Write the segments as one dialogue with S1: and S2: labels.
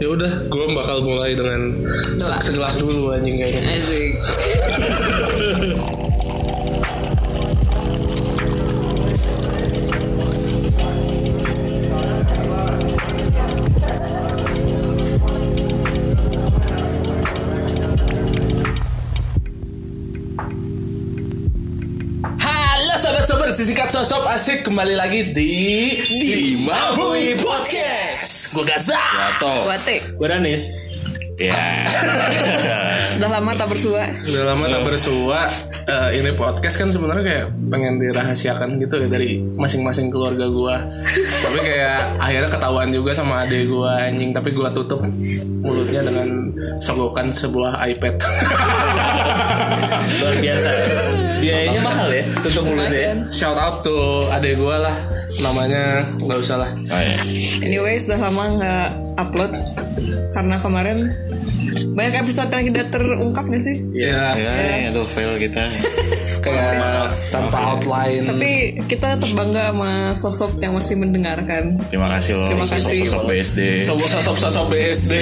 S1: ya udah gue bakal mulai dengan
S2: Doa.
S1: segelas dulu anjing kayaknya
S2: Asik.
S3: Halo sobat-sobat sisikat sosok asik kembali lagi di di Mabui Podcast. Gue Gaza.
S4: Atau
S2: Kuatik.
S3: Beranis.
S4: ya
S2: Sudah lama tak bersua.
S1: udah lama
S3: Iya.
S1: tak bersua eh, ini podcast kan sebenarnya kayak pengen dirahasiakan gitu ya dari masing-masing keluarga gue tapi kayak akhirnya ketahuan juga sama adik gue anjing tapi gue tutup mulutnya dengan sogokan sebuah iPad
S3: Luar biasa. Biayanya mahal ya. Tutup mulutnya ya.
S1: shout out to adik gue lah namanya nggak usah lah
S4: Oh, ya.
S2: Anyway, sudah lama nggak upload karena kemarin banyak episode yang tidak terungkap gak sih?
S1: ya
S3: Iya.
S4: ya aduh fail kita
S1: kayak tanpa
S3: ya.
S1: outline
S2: Tapi kita terbangga sama sosok yang masih mendengarkan.
S4: terima kasih loh
S2: Terima kasih.
S4: sosok-sosok BSD
S1: Sob sosok sosok BSD,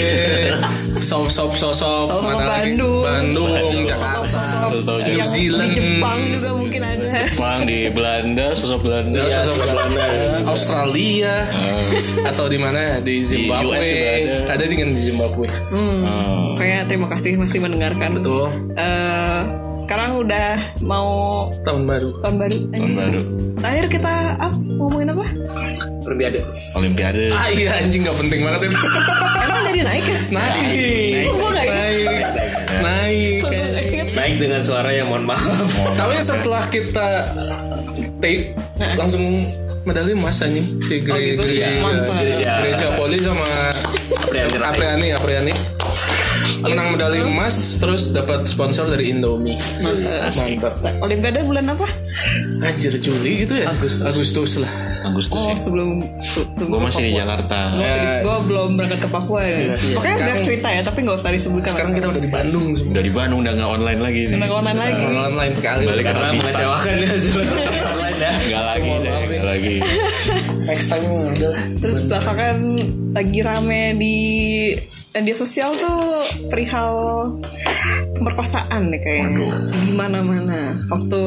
S1: sob sob sosok
S2: Sosok
S1: mana lagi?
S2: Bandung.
S1: Bandung, Jakarta,
S4: Sosok
S2: Sosok-sosok yang
S1: New
S2: di
S1: Zealand.
S2: Jepang juga mungkin ada.
S4: Jepang di Belanda sosok Belanda
S1: Ya, sosok
S4: sosok
S1: Belanda, Australia
S4: Ah.
S1: atau di mana di Zimbabwe
S4: US juga ada.
S1: ada dengan di Zimbabwe
S2: Hmm,
S4: Oh.
S2: Pokoknya terima kasih masih mendengarkan.
S1: betul
S2: Eh, sekarang udah mau
S1: tahun baru
S2: tahun baru.
S4: tahun
S2: anjing.
S4: baru
S2: Terakhir kita up ngomongin apa?
S3: Olimpiade.
S4: Olimpiade
S1: ah iya anjing gak penting banget itu
S2: Emang tadi naik ya?
S1: naik
S2: Kok gua nggak ingat?
S1: naik naik
S2: Kok gua nggak ingat?
S3: Naik dengan suara yang mohon maaf.
S1: tapi setelah kita take langsung medali emas anjing si
S2: Oh,
S1: Gre
S2: gitu
S1: Gre-
S2: ya. Mantap.
S3: Iya.
S1: Grecia Poli sama
S3: April terakhir.
S1: Apriani, Apriani. Menang medali emas terus dapat sponsor dari Indomie. Mantap.
S2: Olimpiade bulan apa?
S1: Anjir Juli itu ya? Agustus, lah.
S4: Agustus
S2: Oh
S4: ya
S2: sebelum se-
S4: gue
S2: sebelum ke
S4: masih di
S2: Papua.
S4: Jakarta
S2: gue belum berangkat ke Papua ya. Pokoknya udah
S1: Sekarang-
S2: cerita ya, tapi nggak usah disebutkan.
S1: Sekarang kita udah di Bandung semua.
S4: dari Bandung udah nggak online lagi nih
S2: Udah online lagi.
S1: Online sekali.
S4: balik ke
S3: Karena
S4: Habitat
S3: mengecewakan ya online ya.
S4: nggak lagi deh nggak lagi
S1: Next time ada.
S2: Terus belakangan lagi rame di media sosial tuh perihal pemerkosaan nih kayaknya di mana-mana. Waktu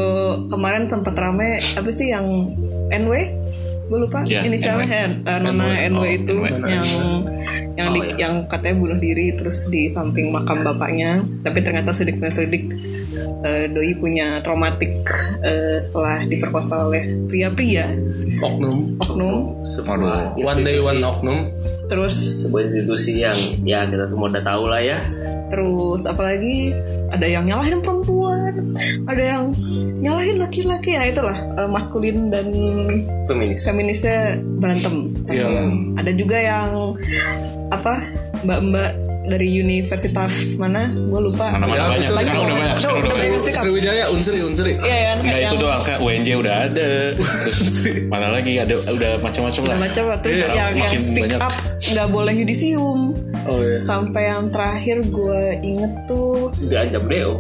S2: kemarin sempat rame apa sih yang NW? Gue lupa
S4: Ya, NW.
S2: inisialnya Hen, eh, Nona
S4: NW.
S2: NW
S4: Oh,
S2: itu
S4: NW.
S2: yang yang
S4: Oh,
S2: di-
S4: ya.
S2: yang katanya bunuh diri terus di samping makam bapaknya, tapi ternyata sidik menyelidik eh, doi punya traumatik eh, setelah diperkosa oleh pria-pria
S1: Oknum.
S2: oknum
S3: Iya,
S4: Waduh
S1: One day one oknum.
S2: terus
S3: Sebuah institusi yang ya kita semua udah tahu lah ya.
S2: Terus apalagi ada yang nyalahin perempuan, ada yang nyalahin laki-laki. Nah itulah eh, maskulin dan
S3: Feminis.
S2: feminisnya berantem.
S1: Iya.
S2: Ada juga yang apa mbak-mbak dari universitas mana? Gue lupa.
S4: mana mana
S1: Ya,
S4: banyak
S1: betul.
S4: sekarang udah banyak sekarang udah banyak
S2: Serius, Kak.
S1: Sriwijaya, Unsri, Unsri.
S2: Iya kan
S4: Enggak
S2: kayak
S4: itu
S2: yang
S4: doang kayak UNJ udah ada. Terus mana lagi ada udah macam-macam lah.
S2: macam terus
S4: Sekarang
S2: yang, yang
S4: makin
S2: speak
S4: banyak.
S2: up nggak boleh yudisium
S1: Oh iya.
S2: sampai yang terakhir gue inget tuh
S3: Diancam Deo.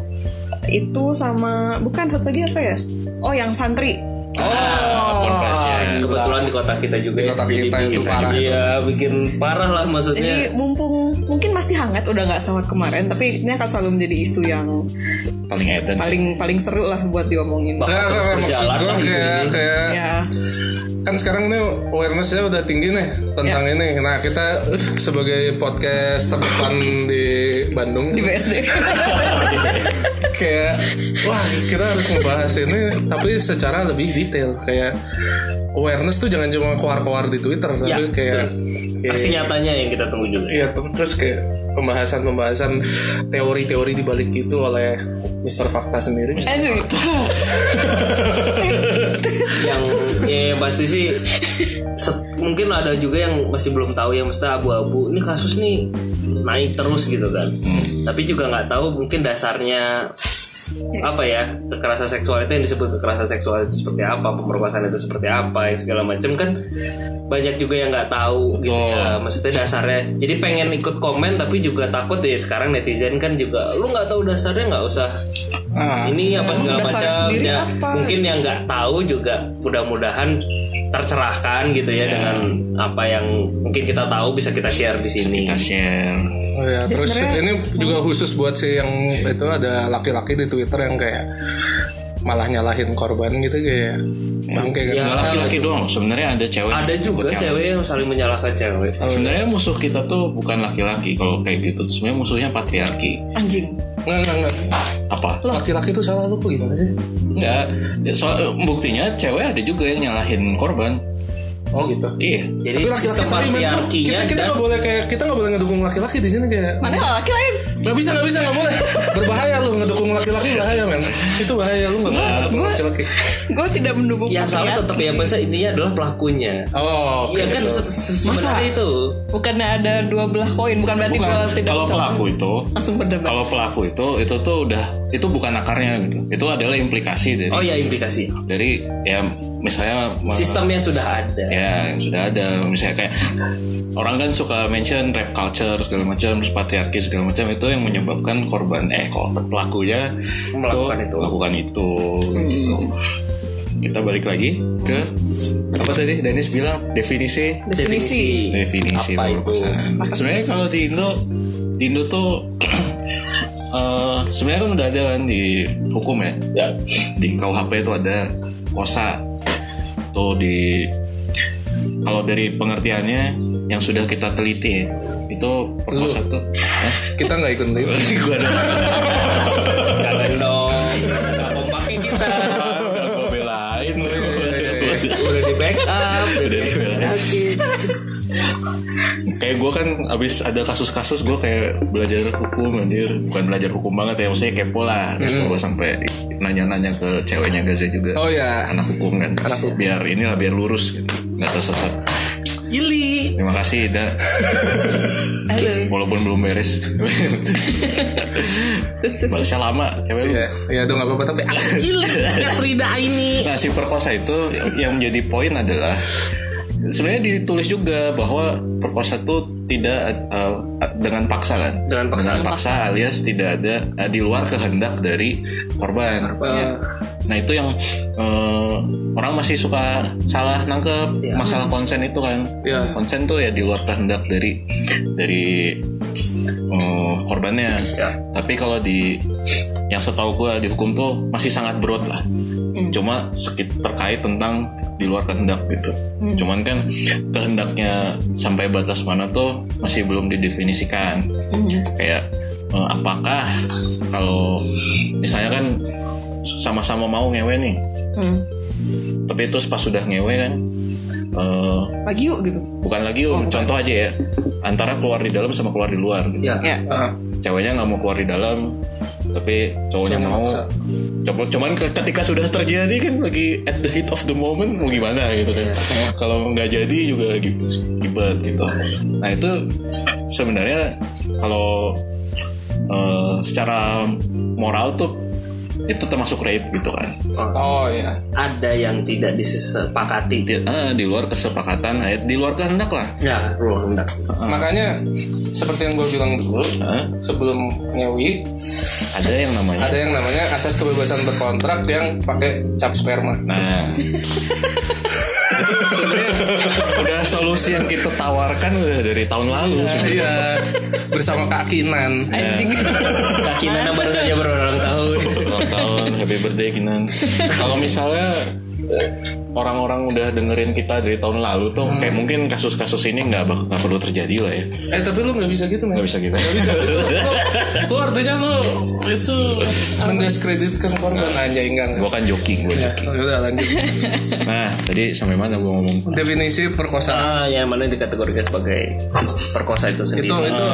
S2: itu sama bukan satu lagi apa ya oh yang santri
S4: Ah, ponpes ya.
S3: Kebetulan di kota kita juga ya,
S1: Di kota kita itu parah.
S3: Iya, bikin parah lah maksudnya.
S2: Jadi mumpung mungkin masih hangat udah nggak sama kemarin, tapi ini akan selalu menjadi isu yang
S4: Paling edan sih.
S2: paling paling seru lah buat diomongin.
S3: Bakal
S1: Nah,
S3: terus
S1: maksud
S3: berjalan
S1: gue
S3: lah isu
S1: kayak,
S3: ini.
S1: kayak
S2: Ya,
S1: kan sekarang nih awarenessnya udah tinggi nih tentang ini. Nah kita sebagai podcast terdepan di Bandung
S2: di BSD.
S1: kayak wah kita harus ngebahas ini tapi secara lebih detail kayak awareness tuh jangan cuma keluar-keluar di Twitter
S3: Ya,
S1: tapi kayak, kayak
S3: Aksi nyatanya yang kita tunggu juga.
S1: iya ter- terus kayak pembahasan-pembahasan teori-teori di balik itu oleh Mr. Fakta sendiri
S2: Aduh,
S3: yang ya, yang pasti sih se- mungkin ada juga yang masih belum tahu yang mesti abu-abu ini kasus nih naik terus gitu kan tapi juga nggak tahu mungkin dasarnya apa ya kekerasan seksual itu yang disebut kekerasan seksual itu seperti apa pemerkosaan itu seperti apa yang segala macam kan banyak juga yang nggak tahu gitu ya maksudnya dasarnya jadi pengen ikut komen tapi juga takut ya sekarang netizen kan juga lu nggak tahu dasarnya nggak usah
S1: ah,
S3: ini apa segala
S2: dasarnya
S3: macam
S2: sendiri
S3: ya.
S2: apa?
S3: mungkin yang nggak tahu juga mudah-mudahan tercerahkan gitu ya dengan apa yang mungkin kita tahu bisa kita share di sini.
S4: kita share
S1: Oh ya,
S2: Jadi
S1: terus
S2: sebenarnya-
S1: ini juga khusus buat si yang itu ada laki-laki di Twitter yang kayak malah nyalahin korban gitu kayak bangke kan.
S3: Iya.
S4: nggak laki-laki doang sebenarnya ada cewek
S3: Ya. Ada juga
S4: ikutnya.
S3: cewek Oh, iya. yang saling menyalahkan cewek.
S4: sebenarnya musuh kita tuh bukan laki-laki kalau kayak gitu Terus sebenarnya musuhnya patriarki
S2: anjing
S1: Nggak, nggak, nggak.
S4: apa
S1: Laki-laki tuh salah lu kok gimana sih?
S4: enggak soal buktinya cewek ada juga yang nyalahin korban
S1: Oh gitu.
S4: iya
S3: Jadi
S1: Tapi laki-laki
S3: sistem
S1: tuh gimana?
S3: patriarkinya
S1: kita kita
S3: dan
S1: nggak boleh kayak kita nggak boleh ngedukung laki-laki di sini kayak
S2: mana laki lain
S1: nggak bisa nggak bisa nggak boleh berbahaya lu ngedukung laki-laki bahaya men itu bahaya lu nggak boleh ngedukung
S2: Gua-
S1: laki-laki
S2: gue tidak mendukung
S3: yang salah
S2: patriarki.
S3: tetap ya masa intinya adalah pelakunya.
S1: oh oke,
S3: Iya kan
S1: gitu.
S3: se- se- sebenarnya
S2: Masa?
S3: itu.
S2: bukannya ada dua belah koin bukan berarti
S4: bukan
S2: gue tidak
S4: kalau
S2: mencoba.
S4: pelaku itu
S2: langsung berdebat
S4: kalau pelaku itu itu tuh udah itu bukan akarnya gitu itu adalah implikasi dari
S3: Oh ya implikasi.
S4: dari ya misalnya me-
S3: Sistemnya sudah ada.
S4: ya yang sudah ada misalnya kayak orang kan suka mention rap culture segala macam terus patriarki segala macam itu yang menyebabkan korban eh korban pelakunya
S3: Melakukan itu. Hmm.
S4: melakukan itu gitu kita balik lagi ke apa tadi Dennis bilang definisi
S2: definisi
S4: definisi
S3: Apa
S4: nomor
S3: itu?
S4: pasangan. Sebenarnya kalau di Indo, di Indo tuh eh, sebenarnya kan udah ada kan di hukum ya. Di KUHP itu ada kosa. Tuh di kalau dari pengertiannya yang sudah kita teliti ya, itu perkosa tuh. Hah?
S1: kita nggak ikut tim
S4: Gua ada
S3: Jangan dong. Mau pakai kita.
S4: Ah, gua belain lu. Iya,
S1: Iya,
S3: Udah di backup.
S4: Udah dibelain. kayak gue kan abis ada kasus-kasus gue kayak belajar hukum anjir bukan belajar hukum banget ya maksudnya kepo lah terus gue sampai nanya-nanya ke ceweknya Gaza juga
S1: oh ya
S4: anak hukum kan biar inilah biar lurus gitu nggak tersesat
S2: Yuli
S4: terima kasih Ida
S2: halo
S4: walaupun belum beres
S2: terus terus
S4: balasnya lama cewek lu
S1: ya ya itu nggak apa-apa tapi
S2: Yuli Frida ini
S4: Nah si perkosa itu yang menjadi poin adalah sebenarnya ditulis juga bahwa perkosa itu tidak eh, dengan paksa kan
S3: Dengan paksa.
S4: paksa alias tidak ada eh, di luar kehendak dari korban nah itu yang eh, orang masih suka salah nangkep masalah konsen itu kan
S1: Ya.
S4: konsen tuh ya di luar kehendak dari dari eh, korbannya
S3: Ya.
S4: tapi kalau di yang setahu gue di hukum tuh masih sangat broad lah cuma sedikit terkait tentang di luar kehendak gitu cuman kan kehendaknya sampai batas mana tuh masih belum didefinisikan
S2: Hmm.
S4: kayak eh, apakah kalau misalnya kan sama-sama mau ngewe nih
S2: hmm.
S4: tapi terus pas sudah ngewe kan eh,
S2: lagi yuk gitu
S4: bukan lagi Om. contoh aja ya antara keluar di dalam sama keluar di luar gitu.
S3: Ya.
S2: ya
S1: Ah,
S4: ceweknya nggak mau keluar di dalam tapi cowoknya
S1: Cowoknya
S4: mau
S1: maksa.
S4: coba cuman ke- ketika sudah terjadi kan lagi at the heat of the moment mau gimana gitu kan kalau nggak jadi juga gi- ribet gitu nah itu sebenarnya kalau eh, secara moral tuh itu termasuk rape gitu kan
S1: oh ya
S3: Ada yang tidak disepakati.
S4: Di- eh, di luar kesepakatan eh, di luar kehendak lah
S3: Ya, ruang hendak.
S4: Ah.
S1: makanya seperti yang gue bilang dulu
S4: Eh,
S1: sebelum nyewi
S4: ada yang namanya
S1: ada yang namanya asas kebebasan berkontrak yang pakai cap sperma
S4: Nah, sebenarnya udah solusi yang kita tawarkan udah dari tahun lalu sebenarnya.
S1: iya bersama kakinan
S4: Iya.
S2: anjing
S3: Kaki Nana baru saja berulang tahun.
S4: Ulang tahun happy birthday Kinan. Kalau misalnya orang-orang udah dengerin kita dari tahun lalu tuh kayak mungkin kasus-kasus ini nggak bak- nggak perlu terjadi lah ya
S1: eh tapi lu nggak bisa gitu men
S4: nggak bisa gitu
S1: lu artinya lu itu mendiskreditkan korban anjay enggak enggak.
S4: gua kan joking gua
S1: Ya,
S4: joking
S1: udah lanjut
S4: nah tadi sampai mana gua ngomong
S1: definisi perkosaan
S3: Ah, yang mana dikategorikan sebagai perkosa itu sendiri.
S1: itu itu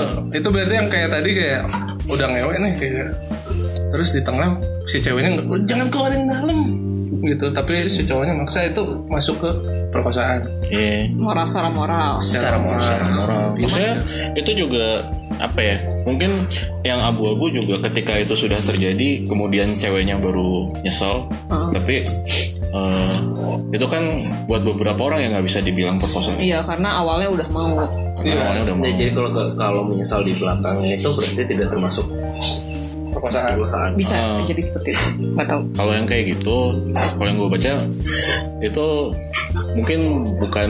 S1: itu berarti yang kayak tadi kayak udah ngewek nih kayak terus di tengah si ceweknya nggak, jangan keluarin dalam gitu tapi si cowoknya maksa itu masuk ke perkosaan
S4: Iya.
S2: moral secara moral
S1: secara moral
S4: moral. Maksudnya itu juga apa ya? Mungkin yang abu-abu juga ketika itu sudah terjadi, kemudian ceweknya baru nyesel. Tapi eh, itu kan buat beberapa orang yang nggak bisa dibilang perkosa.
S2: iya karena awalnya udah mau
S4: Karena awalnya udah mau.
S3: Ya, jadi kalau kalau menyesal di belakang itu berarti tidak termasuk
S1: perkosaan
S2: bisa jadi seperti itu nggak tahu
S4: kalau yang kayak gitu kalau yang gue baca itu mungkin bukan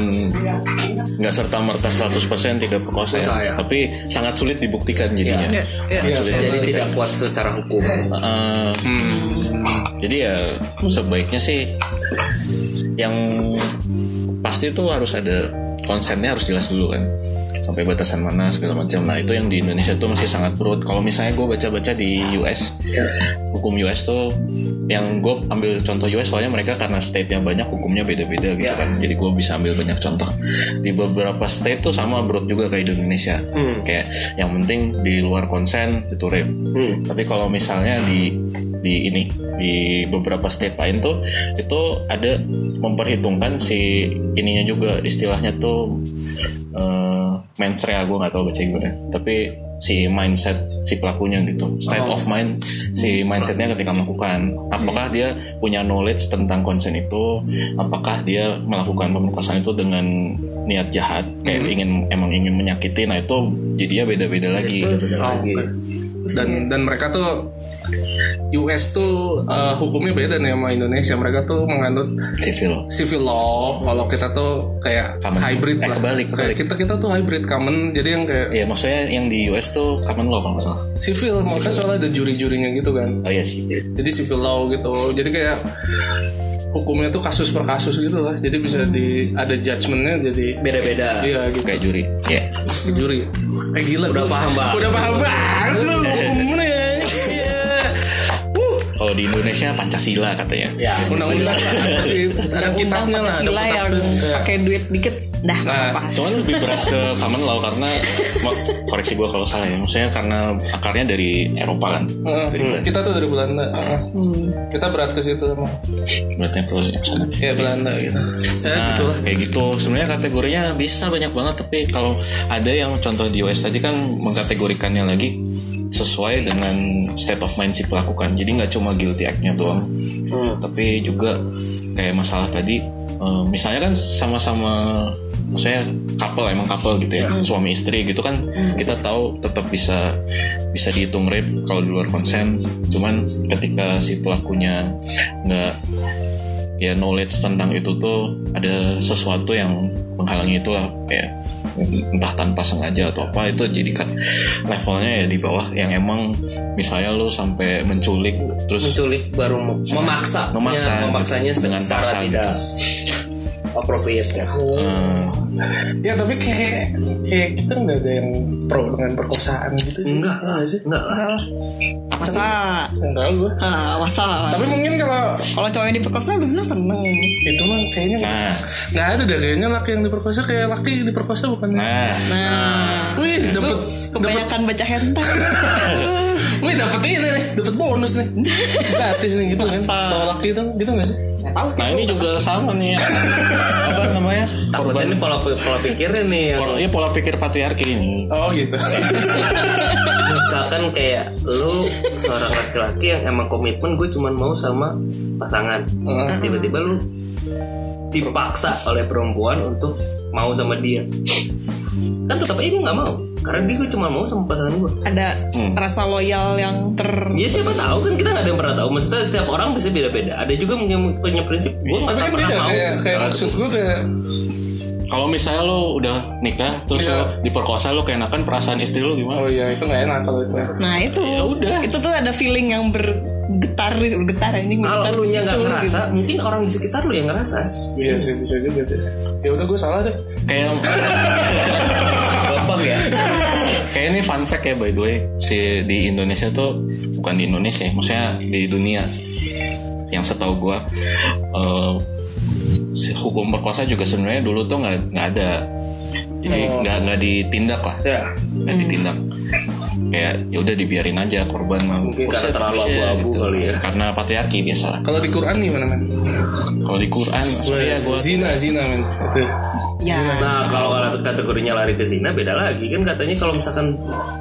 S4: nggak serta merta 100% tidak perkosa ya,
S3: Perkosa, ya.
S4: tapi sangat sulit dibuktikan jadinya
S2: ya, ya.
S4: Sangat sulit
S3: Iya, jadi
S4: dibuktikan.
S3: tidak kuat secara hukum
S4: Eh, jadi ya sebaiknya sih yang pasti itu harus ada konsennya harus jelas dulu kan sampai batasan mana segala macam nah itu yang di Indonesia tuh masih sangat perut kalau misalnya gue baca-baca di US
S3: Ya.
S4: hukum US tuh yang gue ambil contoh US soalnya mereka karena state yang banyak hukumnya beda-beda gitu
S3: Ya.
S4: kan jadi gue bisa ambil banyak contoh di beberapa state tuh sama broad juga kayak di Indonesia
S3: Hmm.
S4: kayak yang penting di luar konsen itu rape
S3: Hmm.
S4: tapi kalau misalnya di di ini di beberapa state lain tuh itu ada memperhitungkan si ininya juga istilahnya tuh eh mensrea gue nggak tahu baca gimana tapi si mindset si pelakunya gitu state of mind si mindsetnya ketika melakukan apakah dia punya knowledge tentang konsen itu apakah dia melakukan pemerkosaan itu dengan niat jahat kayak ingin emang ingin menyakiti nah itu jadinya beda-beda lagi
S1: Oh,
S3: Lagi.
S1: oke. dan dan mereka tuh US tuh eh, hukumnya beda nih sama Indonesia mereka tuh menganut
S4: civil
S1: civil law kalau kita tuh kayak
S4: Common.
S1: hybrid
S4: Eh,
S1: lah
S4: kebalik,
S1: kayak
S4: kebalik.
S1: kita kita tuh hybrid common jadi yang kayak
S4: Ya maksudnya yang di US tuh common law kalau nggak salah.
S1: civil mereka soalnya ada juri-jurinya gitu kan
S4: Oh iya sih.
S1: jadi civil law gitu jadi kayak hukumnya tuh kasus per kasus gitu lah jadi bisa di ada judgementnya jadi
S3: beda-beda
S1: iya gitu
S4: Kayak juri. Ya.
S1: juri eh gila
S3: Udah
S1: gua-
S3: paham, Bang.
S1: udah paham banget lu hukumnya ya Iya. Wuh.
S4: Kalau di Indonesia Pancasila katanya.
S3: ya
S1: undang-undang lah, ada sih ada
S2: undang
S1: kitabnya lah ada Nah,
S2: Pancasila ya, yang
S1: kitabnya.
S2: pakai duit dikit dah nggak apa
S4: Cuman lebih berat ke common law karena ma- koreksi gua kalau salah ya. Maksudnya karena akarnya dari Eropa kan.
S1: Heeh.
S4: Dari Belanda.
S1: kita tuh dari Belanda Heeh.
S2: Hmm.
S1: kita berat ke situ emang
S4: Beratnya terus ya. sana.
S1: ya Belanda gitu ya
S4: Nah,
S1: gitu lah
S4: kayak gitu. Sebenarnya kategorinya bisa banyak banget tapi kalau ada yang contoh di US tadi kan mengkategorikannya lagi sesuai dengan state of mind si pelaku kan. Jadi nggak cuma guilty act-nya doang. Tapi juga kayak masalah tadi eh, misalnya kan sama-sama maksudnya couple emang couple gitu ya, suami istri gitu kan kita tahu tetap bisa bisa dihitung rape kalau di luar konsen. Cuman ketika si pelakunya nggak ya knowledge tentang itu tuh ada sesuatu yang menghalangi itulah ya entah tanpa sengaja atau apa itu jadi kan levelnya ya di bawah yang emang misalnya lu sampai menculik terus
S3: menculik baru mem-
S4: Sengaja.
S3: memaksa Ya,
S4: Memaksa, gitu.
S3: memaksanya
S4: Dengan
S3: dengan secara
S4: paksa,
S3: tidak
S4: gitu.
S3: appropriate ya
S4: eh,
S1: ya tapi kayak kayak kita nggak ada yang pro dengan perkosaan gitu Iya
S3: enggak lah
S1: nggak sih
S3: enggak lah
S2: Enggak lah. masa
S1: nggak tahu gue
S2: Ah, masa
S1: tapi mungkin kalau
S2: kalau cowoknya diperkosa bener seneng
S1: itu mah kayaknya
S4: nah
S1: nggak ada deh kayaknya laki yang diperkosa kayak laki diperkosa bukan ya.
S4: nah
S2: nah
S1: wih dapet dapet
S2: kebanyakan baca hentai
S1: wih dapet ini nih dapet bonus nih gratis nih gitu kan
S2: Masa.
S1: kalau laki itu gitu nggak sih
S2: tahu sih
S4: nah ini juga sama nih apa namanya
S3: Takutnya ini pola pola pikirnya nih yang
S4: Por- ya pola pikir patriarki ini
S1: oh gitu
S3: misalkan kayak lu seorang laki-laki yang emang komitmen gue cuman mau sama pasangan
S1: Heeh.
S3: tiba-tiba lu dipaksa oleh perempuan untuk mau sama dia kan tetap aja gue nggak mau karena dia gue cuma mau sama pasangan gue
S2: ada rasa loyal yang ter
S3: ya siapa tahu kan kita nggak ada yang pernah tahu maksudnya setiap orang bisa beda-beda ada juga yang punya prinsip gue nggak
S1: tapi
S3: akan
S1: kan
S3: pernah
S1: beda
S3: mau
S1: kayak kayak maksud gue kayak
S4: kalau misalnya lu udah nikah terus
S1: Iya.
S4: lu diperkosa lu keenakan perasaan istri lu gimana
S1: oh iya itu nggak enak kalau itu
S2: nah itu
S4: udah.
S2: itu tuh ada feeling yang bergetar bergetar ini
S3: kalau
S2: bergetar
S3: lu nya nggak
S2: gitu,
S3: ngerasa mungkin orang di sekitar lu yang ngerasa
S1: iya sih bisa juga sih ya udah gue salah deh
S4: kayak
S3: gampang ya
S4: Kayak ini fun fact ya by the way si di Indonesia tuh bukan di Indonesia, ya, maksudnya di dunia yang setahu gua eh, si hukum perkosa juga sebenarnya dulu tuh nggak nggak ada, jadi
S3: Oh.
S4: nggak nggak ditindak lah,
S3: ya
S4: nggak ditindak. Kayak ya udah dibiarin aja korban mau
S3: Mungkin
S4: perkosa,
S3: karena terlalu
S4: iya,
S3: abu-abu kali ya.
S4: Karena patriarki biasalah.
S1: kalau di Quran gimana men
S4: Kalau di Quran,
S1: Ya,
S4: maksudnya gua
S1: zina zina men itu
S2: ya
S3: nah kalau kategorinya lari ke zina beda lagi kan katanya kalau misalkan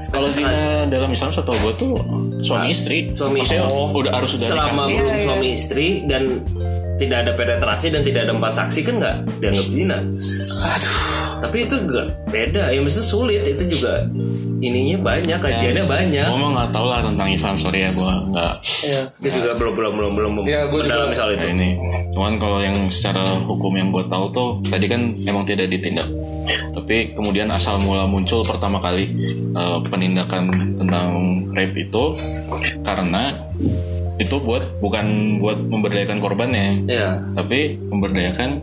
S4: kalau zina dalam Islam setahu gua tuh suami istri,
S3: suami istri
S4: Maksudnya Oh,
S3: Oh,
S4: udah harus udah nikah.
S3: selama belum suami istri dan tidak ada penetrasi dan tidak ada empat saksi kan nggak dianggap zina tapi itu juga beda ya mesti sulit itu juga ininya
S4: Ya.
S3: banyak kajiannya banyak
S4: Gua mah nggak tahu lah tentang Islam sorry ya gua nggak
S3: ya. itu juga belum belum belum belum
S1: Ya, gua juga-
S3: mendalami soal
S4: ya
S3: itu
S4: ini. Cuman kalau yang secara hukum yang gua tahu tuh tadi kan emang tidak ditindak. Tapi kemudian asal mula muncul pertama kali eh, penindakan tentang rape itu karena itu buat bukan buat memberdayakan korbannya,
S3: ya
S4: tapi memberdayakan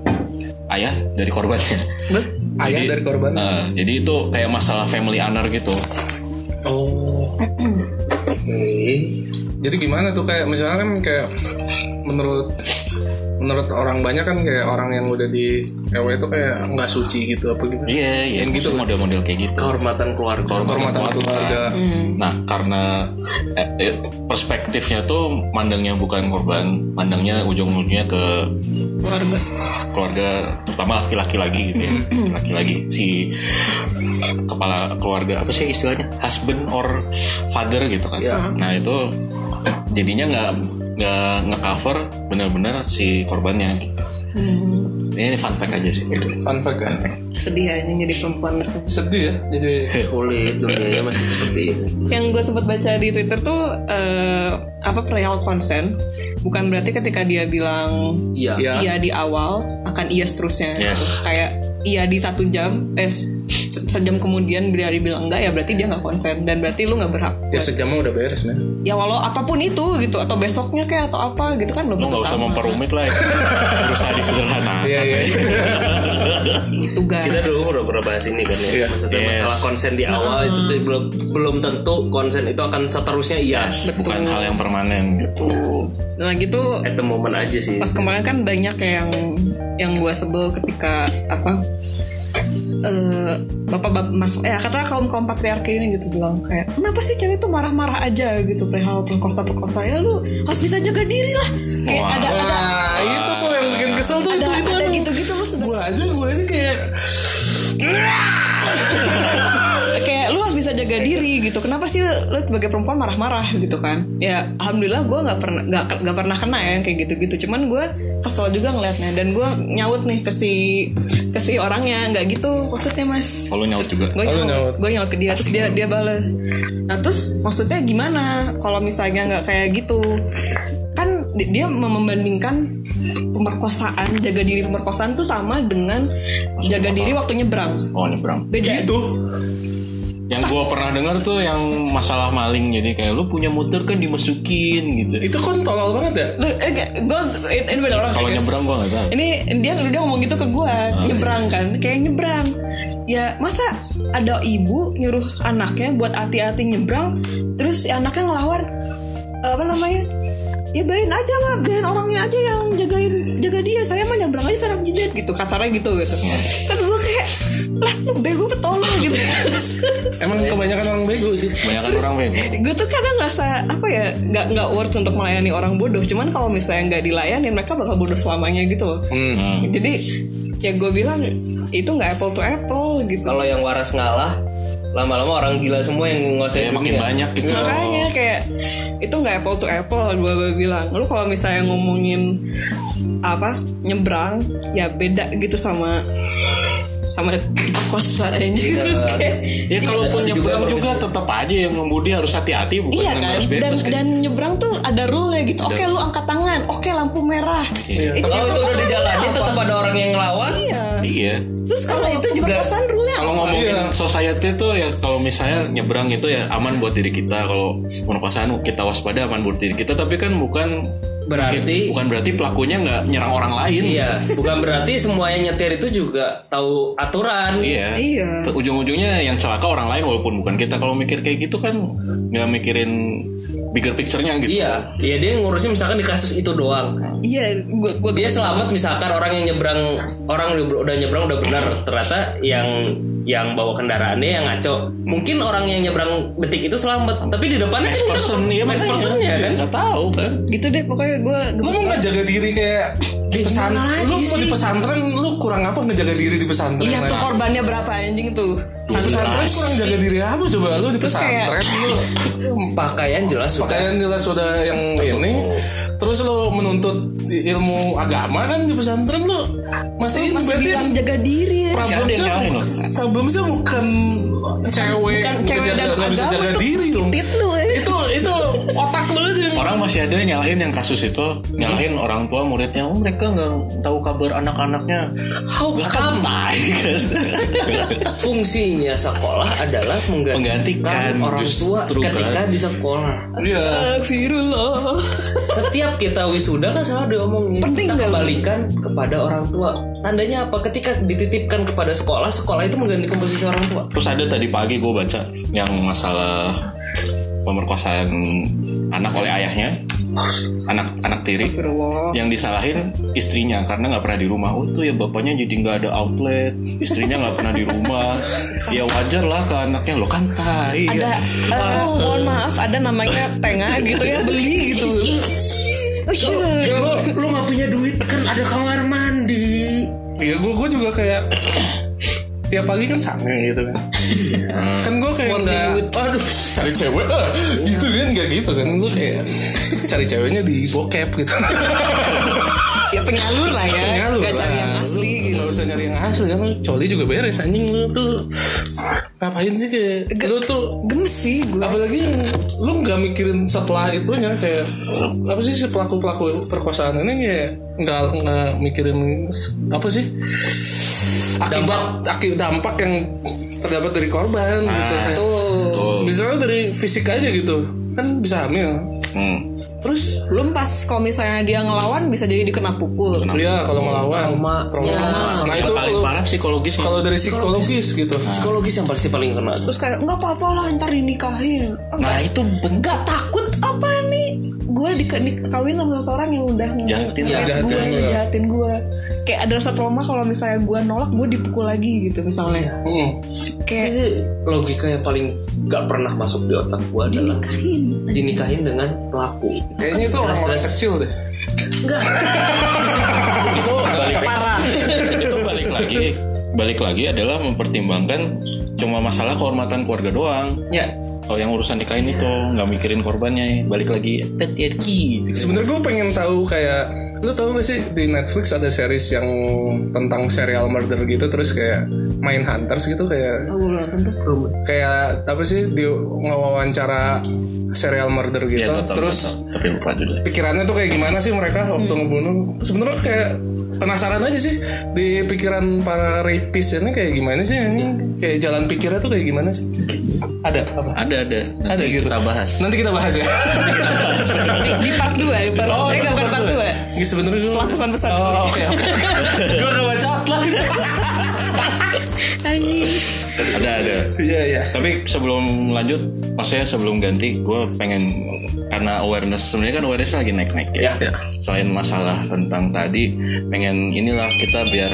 S4: ayah dari korbannya.
S1: ayah
S4: Jadi-
S1: dari korban
S4: Nah, jadi itu kayak masalah family honor gitu.
S1: oh jadi gimana tuh kayak misalnya kan kayak menurut menurut orang banyak kan kayak orang yang udah di EW itu kayak nggak suci gitu apa gimana
S4: Iya, iya.
S1: Yang gitu.
S4: maksudnya model-model kayak gitu.
S3: kehormatan keluarga
S1: kehormatan keluarga
S2: Hmm.
S4: Nah, karena eh, eh, perspektifnya tuh mandangnya bukan korban, mandangnya ujung-ujungnya ke
S2: keluarga
S4: keluarga, terutama laki-laki lagi gitu ya, laki-laki lagi si kepala keluarga apa sih istilahnya, husband or father gitu kan.
S3: Iya.
S4: Nah itu jadinya nggak nggak ngecover benar-benar si korbannya. Gitu. Ini fun fact aja sih. Gitu.
S1: fun fact kan
S2: Hmm. sedih aja jadi perempuan rasanya.
S1: sedih ya jadi
S3: sulit dunianya masih seperti itu
S2: yang gue sempat baca di Twitter tuh eh, apa perihal konsen bukan berarti ketika dia bilang
S3: iya
S1: Iya.
S4: Ya.
S2: iya di awal akan iya seterusnya
S4: Kan? Yes.
S2: kayak iya di satu jam tes sejam kemudian bila dia bilang enggak ya berarti dia nggak konsen dan berarti lu nggak berhak
S1: ya sejamnya udah beres men
S2: ya walau apapun itu gitu atau besoknya kayak atau apa gitu kan udah
S4: Lo nggak usah memperumit lah, ya. berusaha disederhanakan.
S1: iya iya
S2: tugas
S3: kita dulu udah pernah bahas ini kan ya
S1: Iya.
S3: maksudnya
S4: Yes.
S3: masalah konsen di awal itu tuh belum belum tentu konsen itu akan seterusnya iya
S4: Bukan hal yang permanen. Gitu.
S2: dan lagi tuh
S3: at the moment aja sih
S2: Nah, gitu. pas kemarin kan banyak yang yang gue sebel ketika apa eh bapak bapak mas eh kata kaum kaum patriarki ini gitu bilang kayak kenapa sih cewek tuh marah-marah aja gitu perihal perkosa perkosa ya lu harus bisa jaga diri lah kayak
S4: Wah.
S2: ada ada
S1: nah itu tuh yang bikin kesel tuh
S2: ada,
S1: itu itu
S2: ada
S1: emang.
S2: gitu-gitu lu sudah
S1: gua aja gua aja kayak
S2: kayak lu harus bisa jaga diri gitu kenapa sih lu sebagai perempuan marah-marah gitu kan ya alhamdulillah gue nggak pernah nggak nggak pernah kena ya yang kayak gitu-gitu cuman gue kesel juga ngeliatnya dan gue nyaut nih ke si ke si orangnya nggak gitu maksudnya mas
S4: Kalau nyaut juga.
S2: gue
S1: Oh, lu
S2: nyaut
S1: nyaut.
S2: gue nyaut ke dia terus dia dia balas nah terus maksudnya gimana kalau misalnya nggak kayak gitu kan di- dia mem- membandingkan pemerkosaan jaga diri pemerkosaan tuh sama dengan jaga diri waktu nyebrang
S4: Oh nyebrang.
S2: beda ya?
S1: gitu
S4: Yang gua pernah dengar tuh yang masalah maling jadi kayak lu punya motor kan dimasukin gitu.
S1: itu kan tolol banget ya
S2: Lu- eh, gue ini beda orang
S4: Kalau nyebrang gua nggak tahu.
S2: ini dia dia ngomong gitu ke gue nyebrang kan kayak nyebrang ya masa ada ibu nyuruh anaknya buat hati-hati nyebrang terus si anaknya ngelawan eh, apa namanya ya biarin aja mah biarin orangnya aja yang jagain jaga dia saya mah nyebrang aja sarang jidat gitu kasarnya gitu gitu kan gue kayak lah lu bego tolong gitu
S1: emang
S2: Iya.
S1: kebanyakan orang bego sih
S4: Kebanyakan orang bego.
S2: gue tuh kadang ngerasa apa ya nggak nggak worth untuk melayani orang bodoh cuman kalau misalnya nggak dilayani mereka bakal bodoh selamanya gitu loh
S4: Hmm.
S2: jadi ya gue bilang itu nggak apple to apple gitu
S3: kalau yang waras ngalah lama-lama orang gila semua yang
S4: Saya
S3: nguasain
S4: makin
S3: dunia.
S4: banyak gitu.
S2: Iya, makanya kayak itu nggak apple to apple gue bilang lu kalau misalnya ngomongin apa nyebrang ya beda gitu sama sama kosa anjing terus kayak
S4: Ya kalaupun nyebrang juga tetap aja yang ngemudi harus hati-hati bukan
S2: Iya
S4: yang
S2: kan,
S4: harus
S2: dan,
S4: bebas kan.
S2: dan nyebrang tuh ada rule gitu. Oke, lu angkat tangan. Oke, lampu merah.
S4: Iya.
S2: Itu
S3: kalau itu udah
S2: perkosaan
S3: di jalan
S2: apa?
S3: tetap ada orang yang ngelawan
S2: Iya.
S4: Iya.
S2: Terus kalau itu juga kosan rule
S4: Kalau ngomongin society tuh ya kalau misalnya nyebrang itu ya aman buat diri kita kalau perkosaan kita waspada aman buat diri kita tapi kan bukan
S3: berarti
S4: bukan berarti pelakunya nggak nyerang orang lain.
S3: iya bukan berarti semua yang nyetir itu juga tahu aturan
S4: Iya.
S2: Iya.
S4: Ke- Ujung-ujungnya yang celaka orang lain walaupun bukan kita. Kalau mikir kayak gitu kan nggak mikirin bigger picture-nya gitu.
S3: Iya, iya dia ngurusin misalkan di kasus itu doang.
S2: Iya, gua gua
S3: Dia selamat misalkan orang yang nyebrang orang udah udah nyebrang udah benar ternyata yang yang bawa kendaraannya yang ngaco. Mungkin orang yang nyebrang detik itu selamat, tapi di depannya
S4: Next
S3: kan
S4: person
S3: udah-
S4: ya
S3: next personnya kan.
S4: Nggak tahu kan.
S2: gitu deh pokoknya gue
S1: lu mau ngejaga diri kayak di pesan
S2: gimana lagi
S1: lu mau di
S2: sih?
S1: pesantren lu kurang apa ngejaga diri di pesantren
S2: Iya
S1: Nah,
S2: tuh korbannya berapa anjing tuh
S1: pesantren Iya, kurang jaga diri apa coba lu di
S2: Terus kayak-
S1: pesantren lu
S3: Pakaian jelas sudah.
S1: pakaian jelas udah yang ini terus lo menuntut ilmu agama kan di pesantren lo masih,
S2: Masih
S1: berarti
S2: bilang jaga diri ya.
S4: Masih ada yang
S1: problemnya
S4: nyalahin lo.
S1: bu- problemnya bukan cewek
S2: Bukan
S1: nggak
S2: Kan cewek
S1: jaga-
S2: dan
S1: nggak bisa
S2: agama
S1: jaga
S2: itu
S1: diri Iya. lo
S2: titit lu ya.
S1: itu itu otak lo aja yang
S4: Orang masih ada yang nyalahin yang kasus itu, nyalahin orang tua muridnya, oh mereka nggak tahu kabar anak-anaknya.
S3: How
S4: Gak kan
S3: come
S4: tai, kan?
S3: fungsinya sekolah adalah
S4: Menggantikan,
S3: menggantikan orang tua
S4: justru,
S3: ketika
S4: kan?
S3: di sekolah.
S1: Iya.
S2: Astagfirullah.
S3: Setiap kita wisuda kan selalu diomongin
S2: Penting
S3: kita
S2: nggak?
S3: kembalikan kepada orang tua. Tandanya apa? Ketika dititipkan kepada sekolah, sekolah itu menggantikan posisi orang tua.
S4: Terus ada tadi pagi gue baca yang masalah pemerkosaan anak oleh ayahnya, anak anak tiri.
S2: Astagfirullah.
S4: yang disalahin istrinya karena nggak pernah di rumah oh tuh ya bapaknya jadi nggak ada outlet istrinya nggak pernah di rumah ya wajar lah ke anaknya lo kan tai
S1: Iya.
S2: Ada eh, mohon maaf ada namanya tengah gitu ya beli gitu. Oh, shit.
S3: Lo, lo nggak punya duit kan ada kamar mandi.
S1: Iya, gue gue juga kayak tiap pagi kan sange gitu kan.
S4: Hmm.
S1: kan gue kayak nggak, aduh cari cewek ah, gitu kan nggak gitu kan gue kayak cari ceweknya di bokep gitu.
S2: Ya penyalur lah ya.
S1: Nyalur
S2: Nggak cari
S1: lah.
S2: yang asli
S1: Lu
S2: gitu.
S1: nggak usah nyari yang asli kan, lu coli juga beres anjing lu tuh ngapain sih kayak lu tuh
S2: Gemes sih gue.
S1: apalagi lu nggak mikirin setelah itu ya kayak apa sih si pelaku pelaku perkosaan ini kayak nggak nggak mikirin s- apa sih akibat dampak. dampak yang terdapat dari korban
S2: Ah,
S1: gitu
S2: Tuh.
S4: Tuh.
S1: misalnya dari fisik aja gitu kan bisa hamil
S4: Hmm.
S1: terus
S2: Belum pas kalau misalnya dia ngelawan bisa jadi dikena pukul.
S1: dia kalau melawan
S3: Trauma.
S2: Ya.
S1: nah itu
S4: paling
S1: kalau-
S4: parah psikologis
S1: kalau dari psikologis gitu
S2: Nah.
S3: Psikologis yang pasti paling kena tuh.
S2: Terus kayak nggak apa-apa lah ntar dinikahin.
S4: nah itu bentuk
S2: Nggak takut apa nih? Gue dikawin sama seseorang yang udah nge-
S4: Jahatin
S2: ngeliat
S1: lah.
S2: gue,
S1: Jahatin lah.
S2: ngejahatin gue. Kayak ada rasa trauma kalau misalnya gue nolak, gue dipukul lagi gitu misalnya.
S1: Hmm.
S2: Kayak
S3: Ini logika yang paling nggak pernah masuk di otak gua adalah
S2: dinikahin.
S3: dinikahin dengan pelaku.
S1: kayaknya itu orang-orang kecil deh
S4: itu balik
S2: Parah.
S4: itu balik lagi balik lagi adalah mempertimbangkan cuma masalah kehormatan keluarga doang
S1: ya
S4: kalau yang urusan nikahin itu
S1: Iya.
S4: nggak mikirin korbannya ya. balik lagi "Eh, patriarki gitu.
S1: Sebenernya gue pengen tahu kayak lu tau gak sih di Netflix ada series yang tentang serial murder gitu terus kayak main hunters gitu kayak
S2: Gue nonton tuh.
S1: kayak apa sih di ngewawancara serial murder gitu
S4: Ya, gua tahu,
S1: terus
S4: gua tahu. tapi lupa judulnya
S1: pikirannya tuh kayak gimana sih mereka waktu ngebunuh sebenarnya kayak penasaran aja sih di pikiran para rapist ini kayak gimana sih ini kayak jalan pikirnya tuh kayak gimana sih ada apa
S4: ada ada nanti
S1: Ada gitu.
S4: kita bahas
S1: nanti kita bahas ya
S2: Di, di part 2 ya, part
S1: Oh,
S2: eh, nggak bukan part
S1: dua.
S2: 2.
S1: Iya, sebenarnya gue
S2: Setelah pesan-pesan.
S1: Oh, oke oke. Gue udah baca lagi.
S2: Anjing.
S4: ada ada
S1: Iya iya.
S4: Tapi sebelum lanjut, maksudnya sebelum ganti, gue pengen karena awareness sebenarnya kan awareness lagi naik-naik ya.
S1: Ya.
S4: Selain masalah tentang tadi, pengen inilah kita biar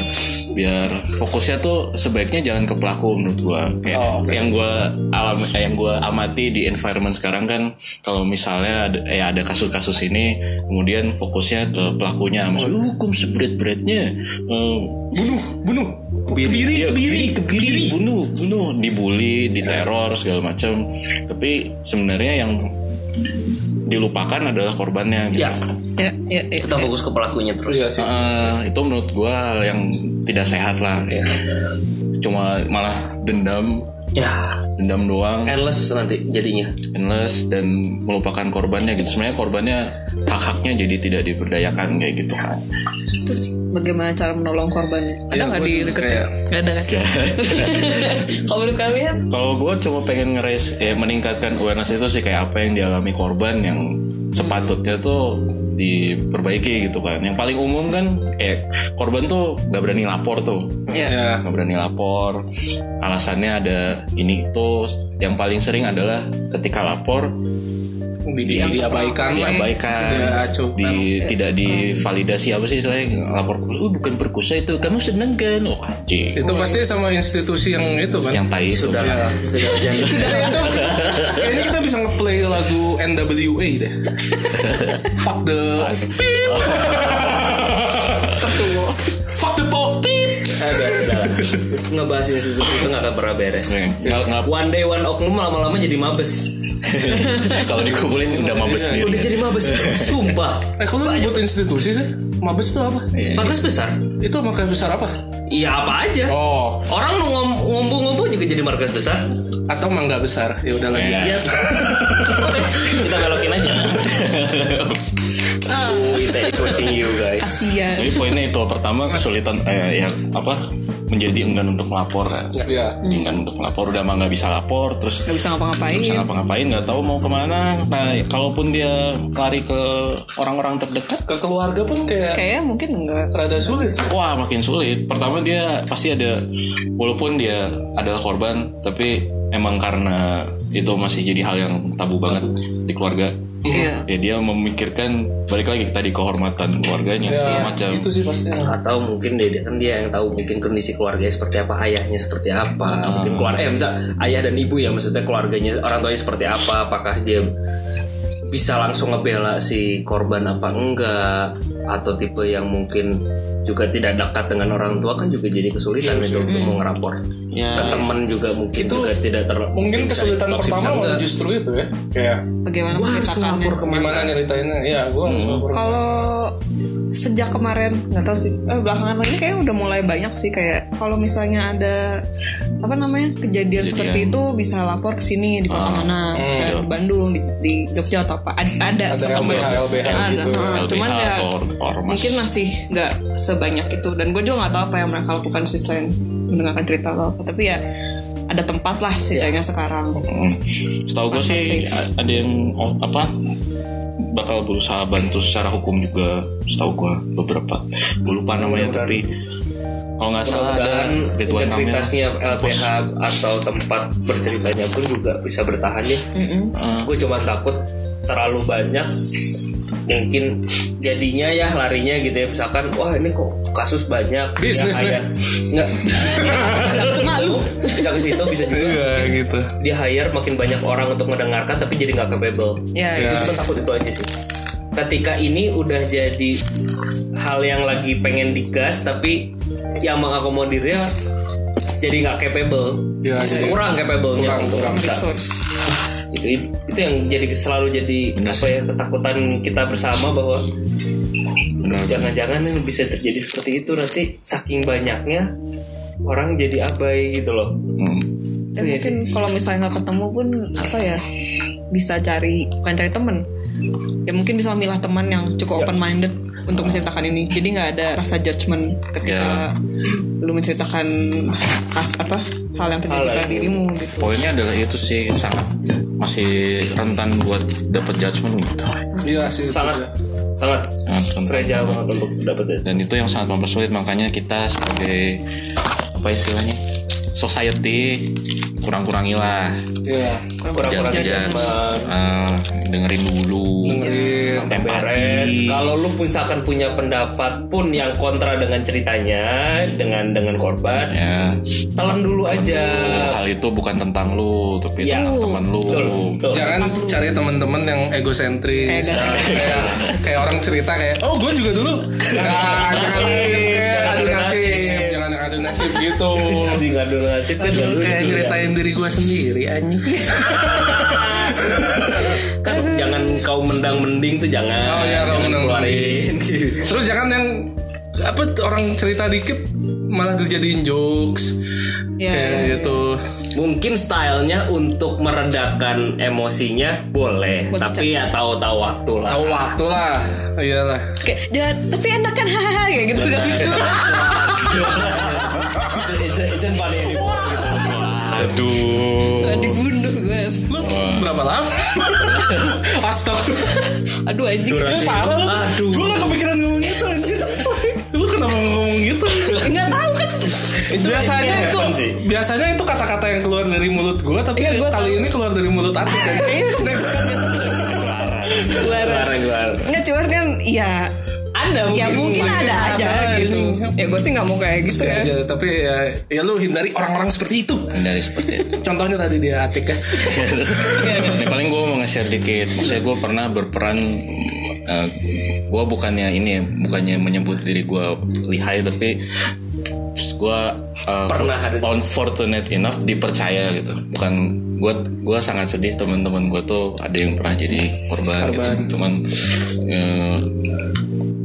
S4: biar fokusnya tuh sebaiknya jangan ke pelaku menurut gue. Kayak
S1: Oh, oke.
S4: yang gue alam, eh, yang gue amati di environment sekarang kan, kalau misalnya ada, ya ada kasus-kasus ini, kemudian fokusnya ke pelakunya, maksudnya hukum seberat-beratnya. eh,
S1: Bunuh bunuh.
S4: kebiri kebiri kebiri bunuh bunuh dibully diteror segala macam tapi sebenarnya yang dilupakan adalah korbannya gitu.
S3: Ya,
S2: Ya, ya, ya.
S3: kita fokus ke pelakunya terus.
S1: Iya sih.
S4: Eh, itu menurut gua hal yang tidak sehat lah cuma malah dendam
S3: Ya,
S4: dendam doang
S3: endless nanti jadinya.
S4: endless dan melupakan korbannya gitu sebenarnya korbannya hak-haknya jadi tidak diberdayakan kayak gitu kan
S2: Terus bagaimana cara menolong korbannya? Ada
S1: Iya,
S2: nggak
S1: gua
S2: di
S1: juga
S2: deket?
S1: kayak-
S2: Nggak ada kan? Kalau menurut kalian?
S4: Kalau gue cuma pengen ngeres ya meningkatkan awareness itu sih kayak apa yang dialami korban yang sepatutnya tuh diperbaiki gitu kan. Yang paling umum kan kayak korban tuh nggak berani lapor tuh, Nah,
S2: Ya.
S1: Ya.
S4: nggak berani lapor. Alasannya ada ini itu. Yang paling sering adalah ketika lapor
S1: Di, di, diabaikan. kan, lah.
S4: diabaikan,
S1: Diacukan.
S4: di, tidak divalidasi apa sih istilahnya lapor. Oh bukan perkusa itu, kamu seneng kan? Oh anjing,
S1: Itu pasti sama institusi yang itu kan.
S4: yang tai itu.
S3: Sudah,
S1: Iya.
S3: sudah jangan.
S1: Dan itu kayaknya kita bisa ngeplay lagu NWA deh. Fuck the Beep. Fuck the pop. Beep.
S3: Ada, Ngebahas institusi itu nggak akan pernah beres.
S1: Iya.
S4: Nggak- nggak-
S3: One day one oknum lama-lama jadi mabes.
S4: Kalau dikumpulin udah mabes
S3: Udah
S1: Iya.
S4: sendiri.
S3: jadi mabes Sumpah
S1: Eh kalau lu buat institusi sih, mabes tuh apa?
S3: Bagus besar
S1: Itu markas besar apa?
S3: Iya apa aja
S1: Oh,
S3: Orang mau ngom- ngumpul-ngumpul juga jadi markas besar
S1: atau mangga besar? Ya udah lagi.
S4: Ya.
S3: Boleh, Kita belokin aja Oh, kita is watching you guys
S2: Asia
S4: Jadi poinnya itu pertama kesulitan eh ya apa menjadi enggan untuk melapor ya.
S1: Iya.
S4: enggan untuk melapor udah mah nggak bisa lapor terus
S2: nggak bisa ngapa-ngapain
S4: bisa ngapa-ngapain nggak tahu mau kemana nah kalaupun dia lari ke orang-orang terdekat
S1: Ke keluarga pun kayak
S2: kayaknya mungkin enggak
S1: rada sulit sih.
S4: Wah makin sulit. Pertama dia pasti ada walaupun dia adalah korban, tapi emang karena itu masih jadi hal yang tabu banget di keluarga.
S2: Iya.
S4: Ya dia memikirkan balik lagi tadi kehormatan keluarganya segala
S1: Ya,
S4: macam.
S1: itu sih pasti.
S3: atau mungkin dia dia- kan dia yang tahu mungkin kondisi keluarganya seperti apa ayahnya seperti apa
S1: Ah.
S3: mungkin keluarga eh, misal ayah dan ibu ya maksudnya keluarganya orang tuanya seperti apa apakah dia bisa langsung ngebela si korban apa enggak atau tipe yang mungkin juga tidak dekat dengan orang tua kan juga jadi kesulitan
S1: Iya
S3: itu mau ngerapor
S4: Ya.
S3: ke temen juga mungkin
S1: Hmm. Itu
S3: juga tidak ter
S1: Mungkin
S3: bisa
S1: kesulitan pertama
S3: toxic bisa
S1: malah
S3: enggak.
S1: justru itu ya. Iya, Kayak
S2: bagaimana
S3: Gua harus
S2: menceritakannya
S3: lapor kemana
S1: gimana nyeritainnya? Iya, gua harus lapor.
S2: kalau sejak kemarin nggak tahu sih eh, belakangan ini kayaknya udah mulai banyak sih kayak kalau misalnya ada apa namanya kejadian, seperti itu bisa lapor ke sini di kota mana misalnya di Bandung di, di Jogja atau apa ada ada,
S1: Ada LBH, LBH
S2: Ada,
S1: gitu.
S2: heeh.
S4: LBH
S2: cuman ya
S4: atau or- ormas.
S2: mungkin masih nggak sebanyak itu dan gue juga nggak tahu apa yang mereka lakukan sih selain mendengarkan cerita atau apa tapi ya ada tempat lah setidaknya sekarang
S4: Hmm. Setahu gue sih a- ada yang oh, apa bakal berusaha bantu secara hukum juga. Setahu gue beberapa. Gue lupa namanya tapi kalau nggak salah
S3: dan
S4: ada Ridwan Kamil.
S3: integritasnya LPH atau tempat berceritanya pun juga bisa bertahan ya.
S4: Ah,
S3: Gue cuma takut terlalu banyak mungkin jadinya ya larinya gitu ya misalkan wah ini kok kasus banyak
S1: Bisnis
S3: ya,
S1: nih.
S3: hire. nggak cuma lu bisa ke situ bisa juga
S1: Iya, gitu.
S3: dia hire makin banyak orang untuk mendengarkan tapi jadi nggak capable
S2: ya,
S1: Ya.
S2: itu.
S3: Cuma takut itu aja sih. Ketika ini udah jadi hal yang lagi pengen digas tapi yang mengakomodirnya jadi nggak capable.
S1: Ya, jadi-
S3: kurang capable-nya
S1: Kurang,
S3: untuk
S1: kurang.
S3: bisa.
S2: resource
S3: Itu itu yang jadi selalu jadi
S4: Benar
S3: apa
S4: sih.
S3: ya ketakutan kita bersama bahwa
S4: Benar,
S3: jangan-jangan yang bisa terjadi seperti itu nanti saking banyaknya orang jadi abai gitu loh.
S4: Hmm.
S2: dan
S3: Iya
S2: Ya, mungkin kalau misalnya nggak ketemu pun apa ya bisa cari bukan cari temen ya mungkin bisa milah teman yang cukup open minded untuk menceritakan ini jadi nggak ada rasa judgement ketika lu menceritakan kas apa hal yang terjadi
S3: Hal
S2: pada
S3: yang-
S2: dirimu gitu
S4: poinnya adalah itu sih sangat masih rentan buat dapat judgement gitu
S1: Iya sih itu.
S3: Sangat
S1: sih.
S3: sangat
S4: Sangat rentan.
S3: fragile banget untuk dapat itu.
S4: dan itu yang sangat mempersulit makanya kita sebagai apa istilahnya society kurang-kurangilah
S1: Iya.
S3: kurang-kurang
S4: jangan Ah, dengerin dulu
S1: Dengerin.
S4: Sampai
S3: beres.
S4: empati
S3: Kalau lu pun misalkan punya pendapat pun yang kontra dengan ceritanya, dengan dengan korban,
S4: ya
S3: telan dulu aja.
S4: hal itu bukan tentang lu tapi
S3: Iya.
S4: tentang teman lu
S3: Betul, betul.
S1: Jangan cari teman-teman yang egosentris.
S2: Kayak
S1: kayak, kayak orang cerita kayak, "Oh, gue juga dulu." Nah, jangan kayak adu nasib, jangan adu nasib gitu. Iya.
S3: Jadi ngadu nasib kan nggak lucu
S1: Kayak
S3: ya.
S1: nyeritain diri gue sendiri anjing.
S3: Kan jangan kau mendang mending tuh
S1: Oh,
S3: jangan.
S1: iya, kau
S3: Jangan
S1: mendang
S3: keluarin.
S1: Terus jangan yang apa tuh, orang cerita dikit malah dijadiin jokes.
S2: Iya,
S1: kayak
S2: iya,
S1: gitu.
S3: Mungkin stylenya untuk meredakan emosinya boleh,
S2: Buat
S3: tapi ya tahu-tahu waktu lah.
S1: Tahu waktu Iya lah. Iyalah.
S2: kayak "Dan- tapi enak kan hahaha kayak gitu nggak lucu
S3: It's, it's, it's funny anymore, gitu.
S4: aduh
S2: Kan dibunuh gue
S1: Lu berapa lama? Astagfirullah.
S2: aduh anjing
S1: Eh, parah lu.
S3: Aduh.
S1: Gue gak kepikiran ngomong gitu anjir. Lu kenapa ngomong gitu?
S2: nggak tahu kan
S1: biasanya
S3: yang
S1: itu
S3: happen sih.
S1: biasanya itu kata-kata yang keluar dari mulut gue tapi
S2: Iya, gua
S1: kali
S2: tahu. Iya.
S1: ini keluar dari mulut Atik kan.
S2: Keluaran.
S3: Keluaran, keluaran.
S2: nggak cuman kan ya
S3: Ada
S2: ya mungkin
S1: masih
S2: ada aja
S1: ada
S2: gitu
S1: gitu.
S2: ya gue sih nggak mau kayak gitu ya
S1: Aja, tapi ya, ya lu hindari orang-orang seperti itu
S4: dari seperti itu
S1: contohnya tadi dia Atik ya
S4: Ya, paling gue mau nge-share dikit maksudnya gue pernah berperan eh, gue bukannya ini bukannya menyebut diri gue lihai tapi gue
S3: Pernah ada.
S4: unfortunate enough dipercaya gitu bukan gue gue sangat sedih teman-teman gue tuh ada yang pernah jadi
S1: Korban.
S4: korban, gitu cuman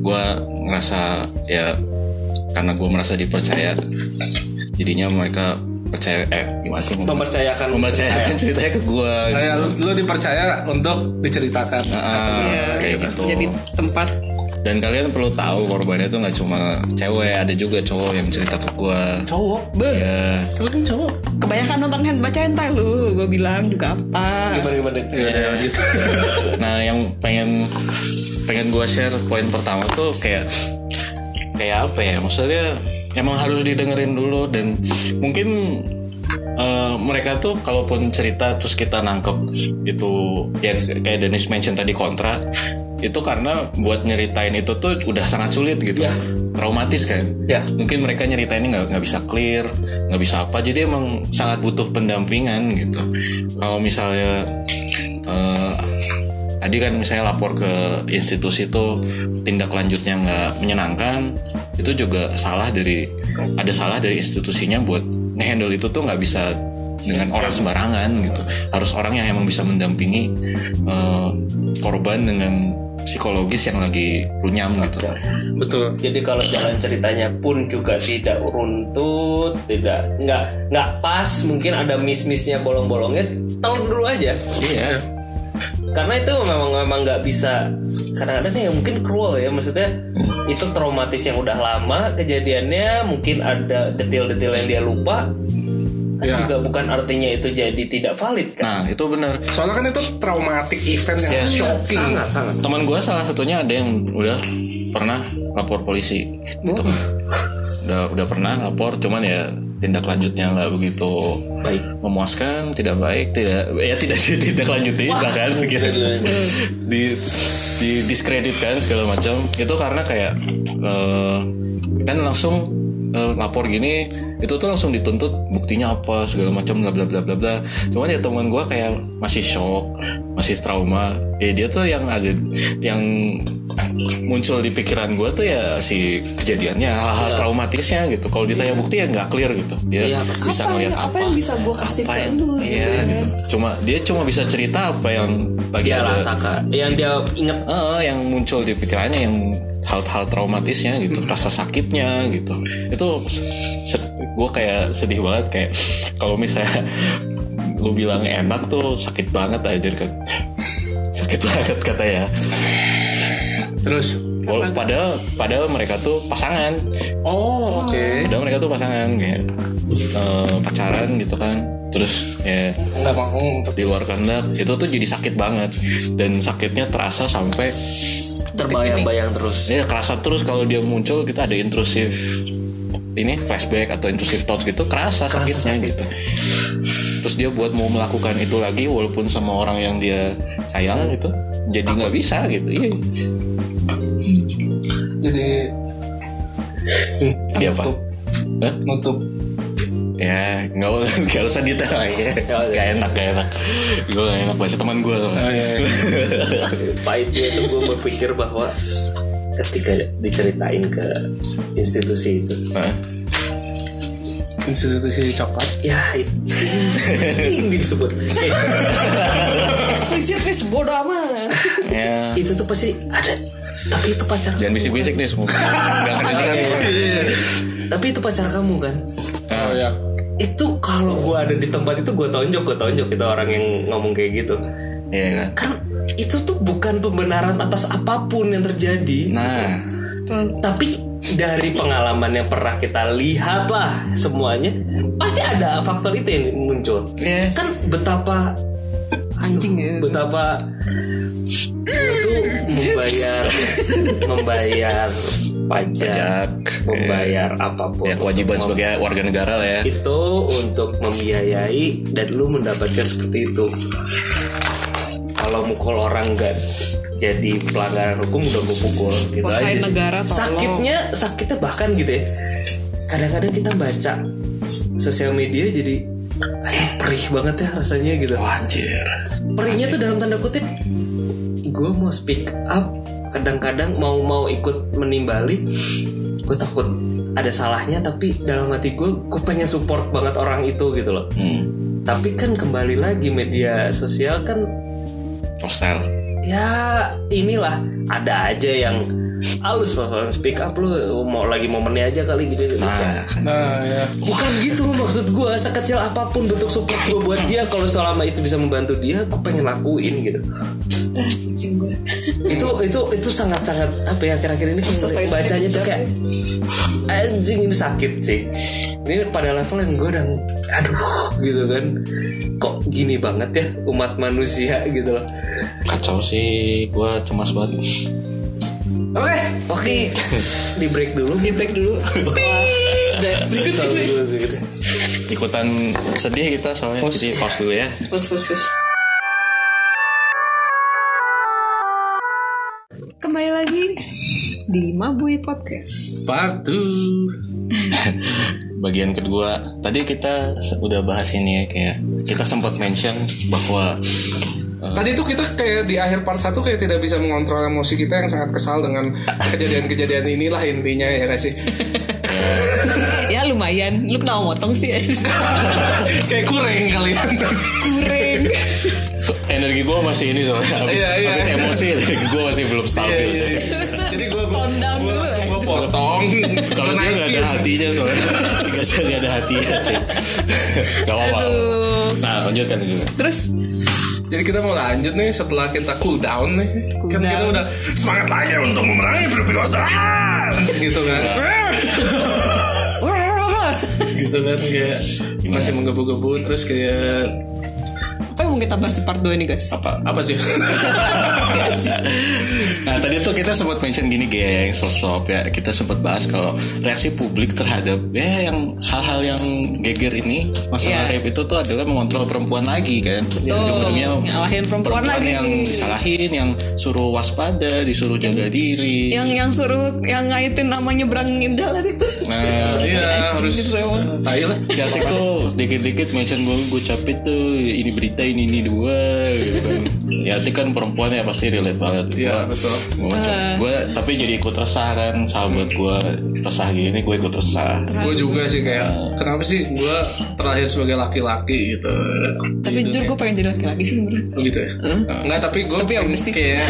S4: gue ngerasa ya karena gue merasa dipercaya jadinya mereka percaya eh gimana sih ngomong?
S3: mempercayakan
S4: mempercayakan ceritanya ke gitu. gue
S1: kayak lu dipercaya untuk diceritakan Iya.
S4: kayak gitu
S2: Jadi tempat
S4: dan kalian perlu tahu korbannya tuh nggak cuma cewek ada juga cowok yang cerita ke gue
S1: cowok be
S4: ya
S1: lu kan cowok
S2: kebanyakan nonton hand baca hentai lu. Gue bilang juga apa.
S3: gimana gimana
S1: ya udah gitu
S4: nah yang pengen pengen gue share poin pertama tuh kayak kayak apa ya maksudnya emang harus didengerin dulu dan mungkin eh, mereka tuh kalaupun cerita terus kita nangkep itu ya kayak Dennis mention tadi kontra itu karena buat nyeritain itu tuh udah sangat sulit gitu
S1: Iya.
S4: traumatis kan
S3: Ya.
S4: mungkin mereka nyeritainnya nggak nggak bisa clear nggak bisa apa jadi emang sangat butuh pendampingan gitu kalau misalnya eh, tadi kan misalnya lapor ke institusi itu tindak lanjutnya nggak menyenangkan itu juga salah dari ada salah dari institusinya buat ngehandle itu tuh nggak bisa dengan orang sembarangan gitu harus orang yang emang bisa mendampingi eh, korban dengan psikologis yang lagi runyam gitu
S1: betul
S3: jadi kalau jalan ceritanya pun juga tidak runtut tidak nggak nggak pas mungkin ada miss missnya bolong bolongnya tahu dulu aja
S4: iya
S3: karena itu memang memang nggak bisa kadang-kadang ya mungkin cruel ya maksudnya itu traumatis yang udah lama kejadiannya mungkin ada detail-detail yang dia lupa kan
S1: Ya.
S3: juga bukan artinya itu jadi tidak valid kan
S4: nah itu benar
S1: soalnya kan itu traumatic event yang
S4: Iya.
S1: shocking
S3: sangat sangat
S4: teman gue salah satunya ada yang udah pernah lapor polisi gitu udah udah pernah lapor cuman ya tindak lanjutnya nggak begitu
S3: baik
S4: memuaskan tidak baik tidak ya tidak tidak lanjutin bahkan gitu di di- diskreditkan segala macam itu karena kayak eh, kan langsung eh, lapor gini itu tuh langsung dituntut buktinya apa segala macam bla bla bla bla bla cuman ya teman gua kayak masih shock masih trauma ya dia tuh yang agak yang muncul di pikiran gua tuh ya si kejadiannya hal-hal traumatisnya gitu kalau ditanya bukti ya nggak clear gitu dia
S3: Iya,
S4: bisa
S2: Apa
S4: ngeliat
S2: yang-
S4: apa
S2: apa yang bisa gua kasih
S4: apa
S2: ke
S4: yang-
S2: lu,
S4: iya,
S2: gitu ya.
S4: gitu cuma dia cuma bisa cerita apa yang lagi
S3: dia
S4: ada
S3: rasakan yang dia inget
S4: Eh, yang muncul di pikirannya yang hal-hal traumatisnya gitu
S2: Hmm.
S4: rasa sakitnya gitu itu gue kayak sedih banget kayak kalau misalnya lu bilang enak tuh sakit banget aja kan sakit banget kata ya
S1: terus
S4: Wal- padahal padahal mereka tuh pasangan
S1: oh oke
S4: padahal mereka tuh pasangan kayak eh, pacaran gitu kan terus ya
S1: nggak mau
S4: di luar kehendak itu tuh jadi sakit banget dan sakitnya terasa sampai
S3: terbayang-bayang terus
S4: Ini kerasa terus kalau dia muncul kita ada intrusif ini flashback atau intrusif thoughts gitu kerasa, sakitnya gitu. Terus dia buat mau melakukan itu lagi walaupun sama orang yang dia sayang gitu jadi nggak bisa gitu. Iya.
S1: jadi
S4: Dia apa?
S1: nutup
S4: Iya, Hah?
S1: nutup
S4: Ya nggak usah nggak usah detail ya. Gak enak gak enak. Gue gak enak bahasa teman gue.
S1: oh, iya, iya.
S3: pahitnya itu gue berpikir bahwa ketika diceritain ke institusi itu
S1: institusi coklat
S3: ya itu ini disebut Eh,
S2: Eksplisit nih sebodoh amat.
S4: Ya
S3: itu tuh pasti ada tapi itu pacar
S4: jangan bisik-bisik nih semua. Gak kedengeran.
S3: tapi itu pacar kamu kan
S1: oh
S4: Ah.
S1: ya
S3: itu kalau gua ada di tempat itu gua tonjok gua tonjok itu orang yang ngomong kayak gitu
S4: Iya kan.
S3: karena itu tuh bukan pembenaran atas apapun yang terjadi
S4: Nah
S3: tapi dari pengalaman yang pernah kita lihat lah semuanya pasti ada faktor itu yang muncul
S4: ya
S3: kan betapa
S2: Anjing ya.
S3: betapa gua tuh membayar membayar pajak
S4: pajak eh,
S3: membayar apapun
S4: ya kewajiban sebagai warga negara lah ya.
S3: itu untuk membiayai dan lu mendapatkan seperti itu kalau mukul orang nggak jadi pelanggaran hukum udah gue pukul gitu aja
S2: Wahai
S3: sih.
S2: negara, tolong.
S3: sakitnya sakitnya bahkan gitu ya kadang-kadang kita baca sosial media jadi "Aduh, perih banget ya rasanya gitu
S4: Anjir.
S3: perihnya tuh dalam tanda kutip gue mau speak up kadang-kadang mau mau ikut menimbali gue takut ada salahnya tapi dalam hati gue gue pengen support banget orang itu gitu loh
S4: hmm.
S3: tapi kan kembali lagi media sosial kan
S4: hostile
S3: ya inilah ada aja yang halus masalah speak up lu mau lagi momennya aja kali gitu
S4: nah
S1: Nah, ya.
S3: bukan gitu loh maksud gue sekecil apapun bentuk support gue buat dia kalau selama itu bisa membantu dia gue pengen lakuin gitu
S2: pusing gue
S3: itu itu itu sangat sangat apa ya akhir-akhir ini
S2: Masa saya
S3: saya bacanya tuh kayak anjing ini sakit sih ini pada level yang gue udah aduh gitu kan kok gini banget ya umat manusia gitu loh
S4: kacau sih gue cemas banget
S1: Oke.
S3: oke di break dulu
S2: di break dulu
S3: Kesel gua gitu.
S4: ikutan sedih kita soalnya jadi pause dulu ya
S2: pus pus pus kembali lagi di Mabui Podcast
S1: Part 2.
S4: bagian kedua tadi kita se- udah bahas ini ya kayak kita sempat mention bahwa Ah.
S1: Tadi tuh kita kayak di akhir part 1 kayak tidak bisa mengontrol emosi kita yang sangat kesal dengan kejadian-kejadian inilah intinya ya gak sih?
S2: ya lumayan lu kenapa motong sih
S1: kayak kurang ya. kalian.
S2: kuring
S4: so- energi gue masih ini soalnya habis,
S1: Iya, iya.
S4: habis emosi energi gue masih belum
S1: Iya,
S4: stabil
S1: iya, iya. Jadi gue gue
S2: Tone down dulu
S1: langsung
S2: ya.
S1: gue potong.
S4: kalau dia nggak ada hatinya soalnya jika saya nggak ada hatinya sih gak apa-apa nah lanjutkan dulu
S2: terus
S1: Jadi kita mau lanjut nih setelah kita cool down nih. kan
S2: down.
S1: kita udah semangat lagi untuk memerangi perkosaan. gitu kan.
S2: wah
S1: gitu kan kayak masih menggebu-gebu terus kayak
S2: apa yang mau kita bahas di part 2 ini guys
S4: apa
S1: apa sih?
S4: nah tadi tuh kita sempat mention gini gaya yang sosok ya kita sempat bahas kalau reaksi publik terhadap ya yang hal-hal yang geger ini masalah
S2: Iya.
S4: rape itu tuh adalah mengontrol perempuan lagi kan
S2: tuh
S4: Ujung-ujungnya
S2: Oh, ngalahin perempuan, lagi
S4: yang disalahin yang suruh waspada disuruh jaga diri
S2: yang yang suruh yang ngaitin namanya berangin jalan itu
S4: nah
S1: Iya harus.
S2: Gitu emang.
S1: Tai lah.
S4: Jatik tuh dikit-dikit mention gue gue capek tuh ini berita ini ini dua gitu kan. Jatik kan perempuan ya pasti relate banget.
S1: Iya
S4: Gua-
S1: betul.
S4: Gue tapi jadi ikut resah kan sahabat gue resah gini gue ikut resah.
S1: Gue juga sih kayak kenapa sih gue terakhir sebagai laki-laki gitu.
S2: tapi jujur gue pengen jadi laki-laki sih menurut
S1: Oh, gitu ya? Enggak tapi gue
S2: Tapi ya udah sih.
S1: kayak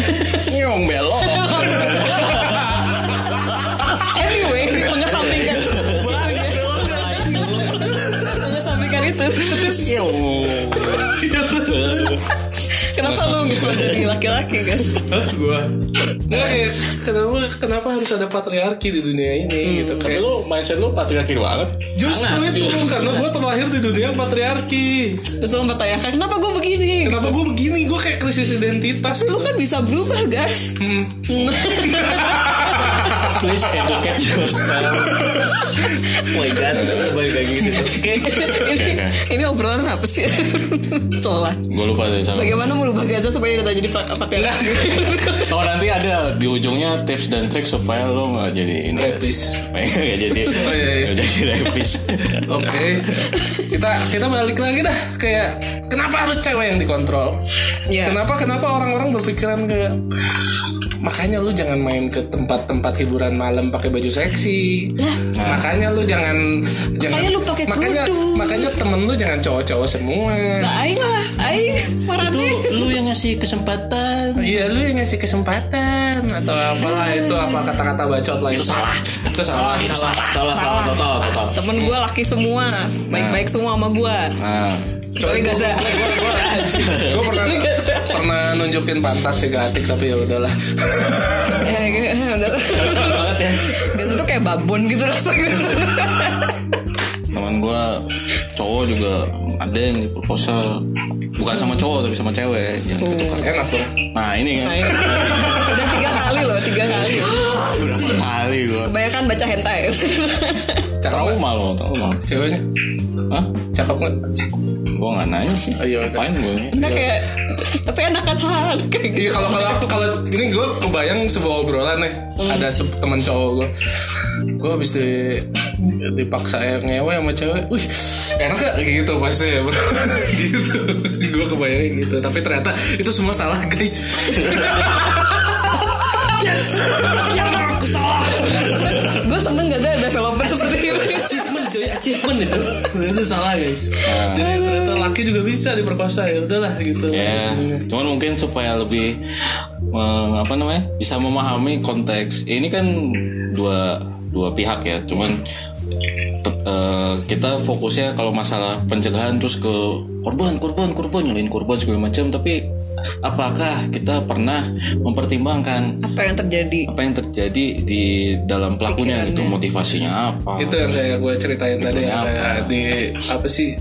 S4: Nyong belok.
S2: anyway mengesampingkan mengesampingkan itu terus kenapa lu bisa jadi laki-laki guys
S1: gue Nggak kayak kenapa kenapa harus ada patriarki di dunia ini gitu
S4: Tapi
S1: kayak
S4: lu mindset lu patriarki banget.
S1: justru itu karena gue terlahir di dunia patriarki
S2: terus lu mempertanyakan kenapa gue begini
S1: kenapa gue begini gue kayak krisis identitas Hmm.
S2: lu kan bisa berubah guys
S4: Please educate yourself.
S3: oh my god balik lagi gitu
S2: ini, ini obrolan apa sih telah
S4: gue lupa dari sana.
S2: bagaimana merubah Gaza supaya kita jadi pa- patriarki
S4: Oh nanti ada di ujungnya tips dan trik supaya lo nggak jadi ini.
S1: Rapist.
S4: Supaya nggak jadi
S1: Oh, iya, iya.
S4: nggak jadi rapist.
S1: Oke, kita kita balik lagi dah kayak kenapa harus cewek yang dikontrol?
S2: Iya.
S1: Kenapa kenapa orang-orang berpikiran kayak makanya lu jangan main ke tempat-tempat hiburan malam pakai baju seksi. Makanya lu jangan jangan
S2: Makanya lu pakai
S1: makanya,
S2: kerudung.
S1: makanya temen lu jangan cowok-cowok semua.
S2: nah aing lah aing marahnya
S4: lu yang ngasih kesempatan
S1: Iya lu yang ngasih kesempatan atau apalah
S2: Iya.
S1: itu apa kata-kata bacot lah itu, salah itu salah, salah.
S3: salah salah total total
S2: temen gue laki semua baik-baik semua sama gue
S4: nah
S2: kecuali Gaza Ya,
S1: Gue pernah pernah nunjukin pantat si Gatik tapi ya udahlah.
S2: Ya, ya, udah.
S3: banget ya
S2: Gaza tuh kayak babon gitu rasanya
S4: teman gua cowok juga ada yang di proposal bukan sama cowok tapi sama cewek yang gitu kan.
S1: Enak dong.
S4: nah ini kan
S2: Nah, ini. udah tiga kali loh tiga kali
S4: berapa kali gua
S2: kebanyakan baca hentai
S1: Cakep nggak?
S4: trauma lo trauma
S1: Ceweknya
S4: Hah?
S1: cakep nggak?
S4: gua nggak nanya sih
S1: Oh, iya, udah.
S4: ngapain gua ini?
S2: Entah kayak tapi enakan hal kayak gitu
S1: Iya kalau kalau kalau ini gue kebayang sebuah obrolan nih
S3: Hmm.
S1: ada se- teman cowok gue gue habis di dipaksa eh, ngewe sama cewek, wih enak gak gitu pasti ya bro. gitu gue kebayang gitu tapi ternyata itu semua salah guys
S3: Yes! ya aku salah.
S2: gue seneng gak ada developer seperti ini
S3: Achievement coy, achievement itu. Nah.
S1: Ternyata salah guys. Jadi ternyata laki juga bisa diperkosa ya udahlah gitu.
S4: Ya, cuman mungkin supaya lebih eh, apa namanya bisa memahami konteks. Ini kan dua dua pihak ya. Cuman te- eh, kita fokusnya kalau masalah pencegahan terus ke korban, korban, korban, nyalain korban segala macam. Tapi apakah kita pernah mempertimbangkan
S2: apa yang terjadi
S4: apa yang terjadi di dalam pelakunya gitu, motivasinya apa?
S1: Itu yang kayak gue ceritain tadi yang
S4: apa?
S1: kayak di apa sih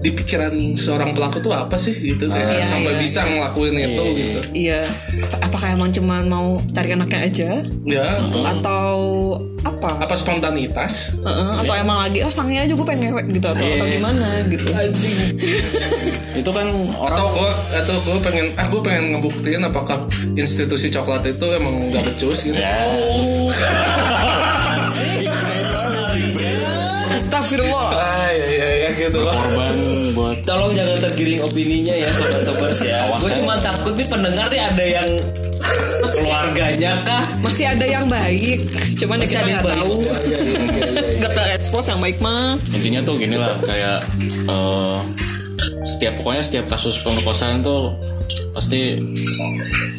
S1: di pikiran seorang pelaku tuh apa sih gitu kayak
S2: Iya,
S1: sampai
S2: iya,
S1: bisa ngelakuin itu gitu.
S2: iya Apa- apakah emang cuman mau cari anaknya aja
S1: Ya
S3: Hmm.
S2: atau apa
S1: apa spontanitas?
S2: Heeh, atau emang lagi oh sangnya aja gue pengen ngewek gitu atau,
S3: Iya.
S2: atau gimana gitu
S4: Itu kan orang
S1: atau gue atau gue pengen ah gue pengen ngebuktiin apakah institusi coklat itu emang gak becus gitu
S2: Astagfirullah
S1: ah ya ya ya gitu
S4: korban buat
S3: Tolong jangan tergiring opininya ya sobat-sobat ya. Gue cuma takut nih pendengar nih ada yang keluarganya kah?
S2: masih ada yang baik cuman ya
S3: Masih
S2: kita
S3: ada yang
S2: nggak
S3: baik. Iya,
S2: tahu nggak terekspos yang baik mah
S4: intinya tuh gini lah kayak eh, setiap pokoknya setiap kasus pemerkosaan tuh pasti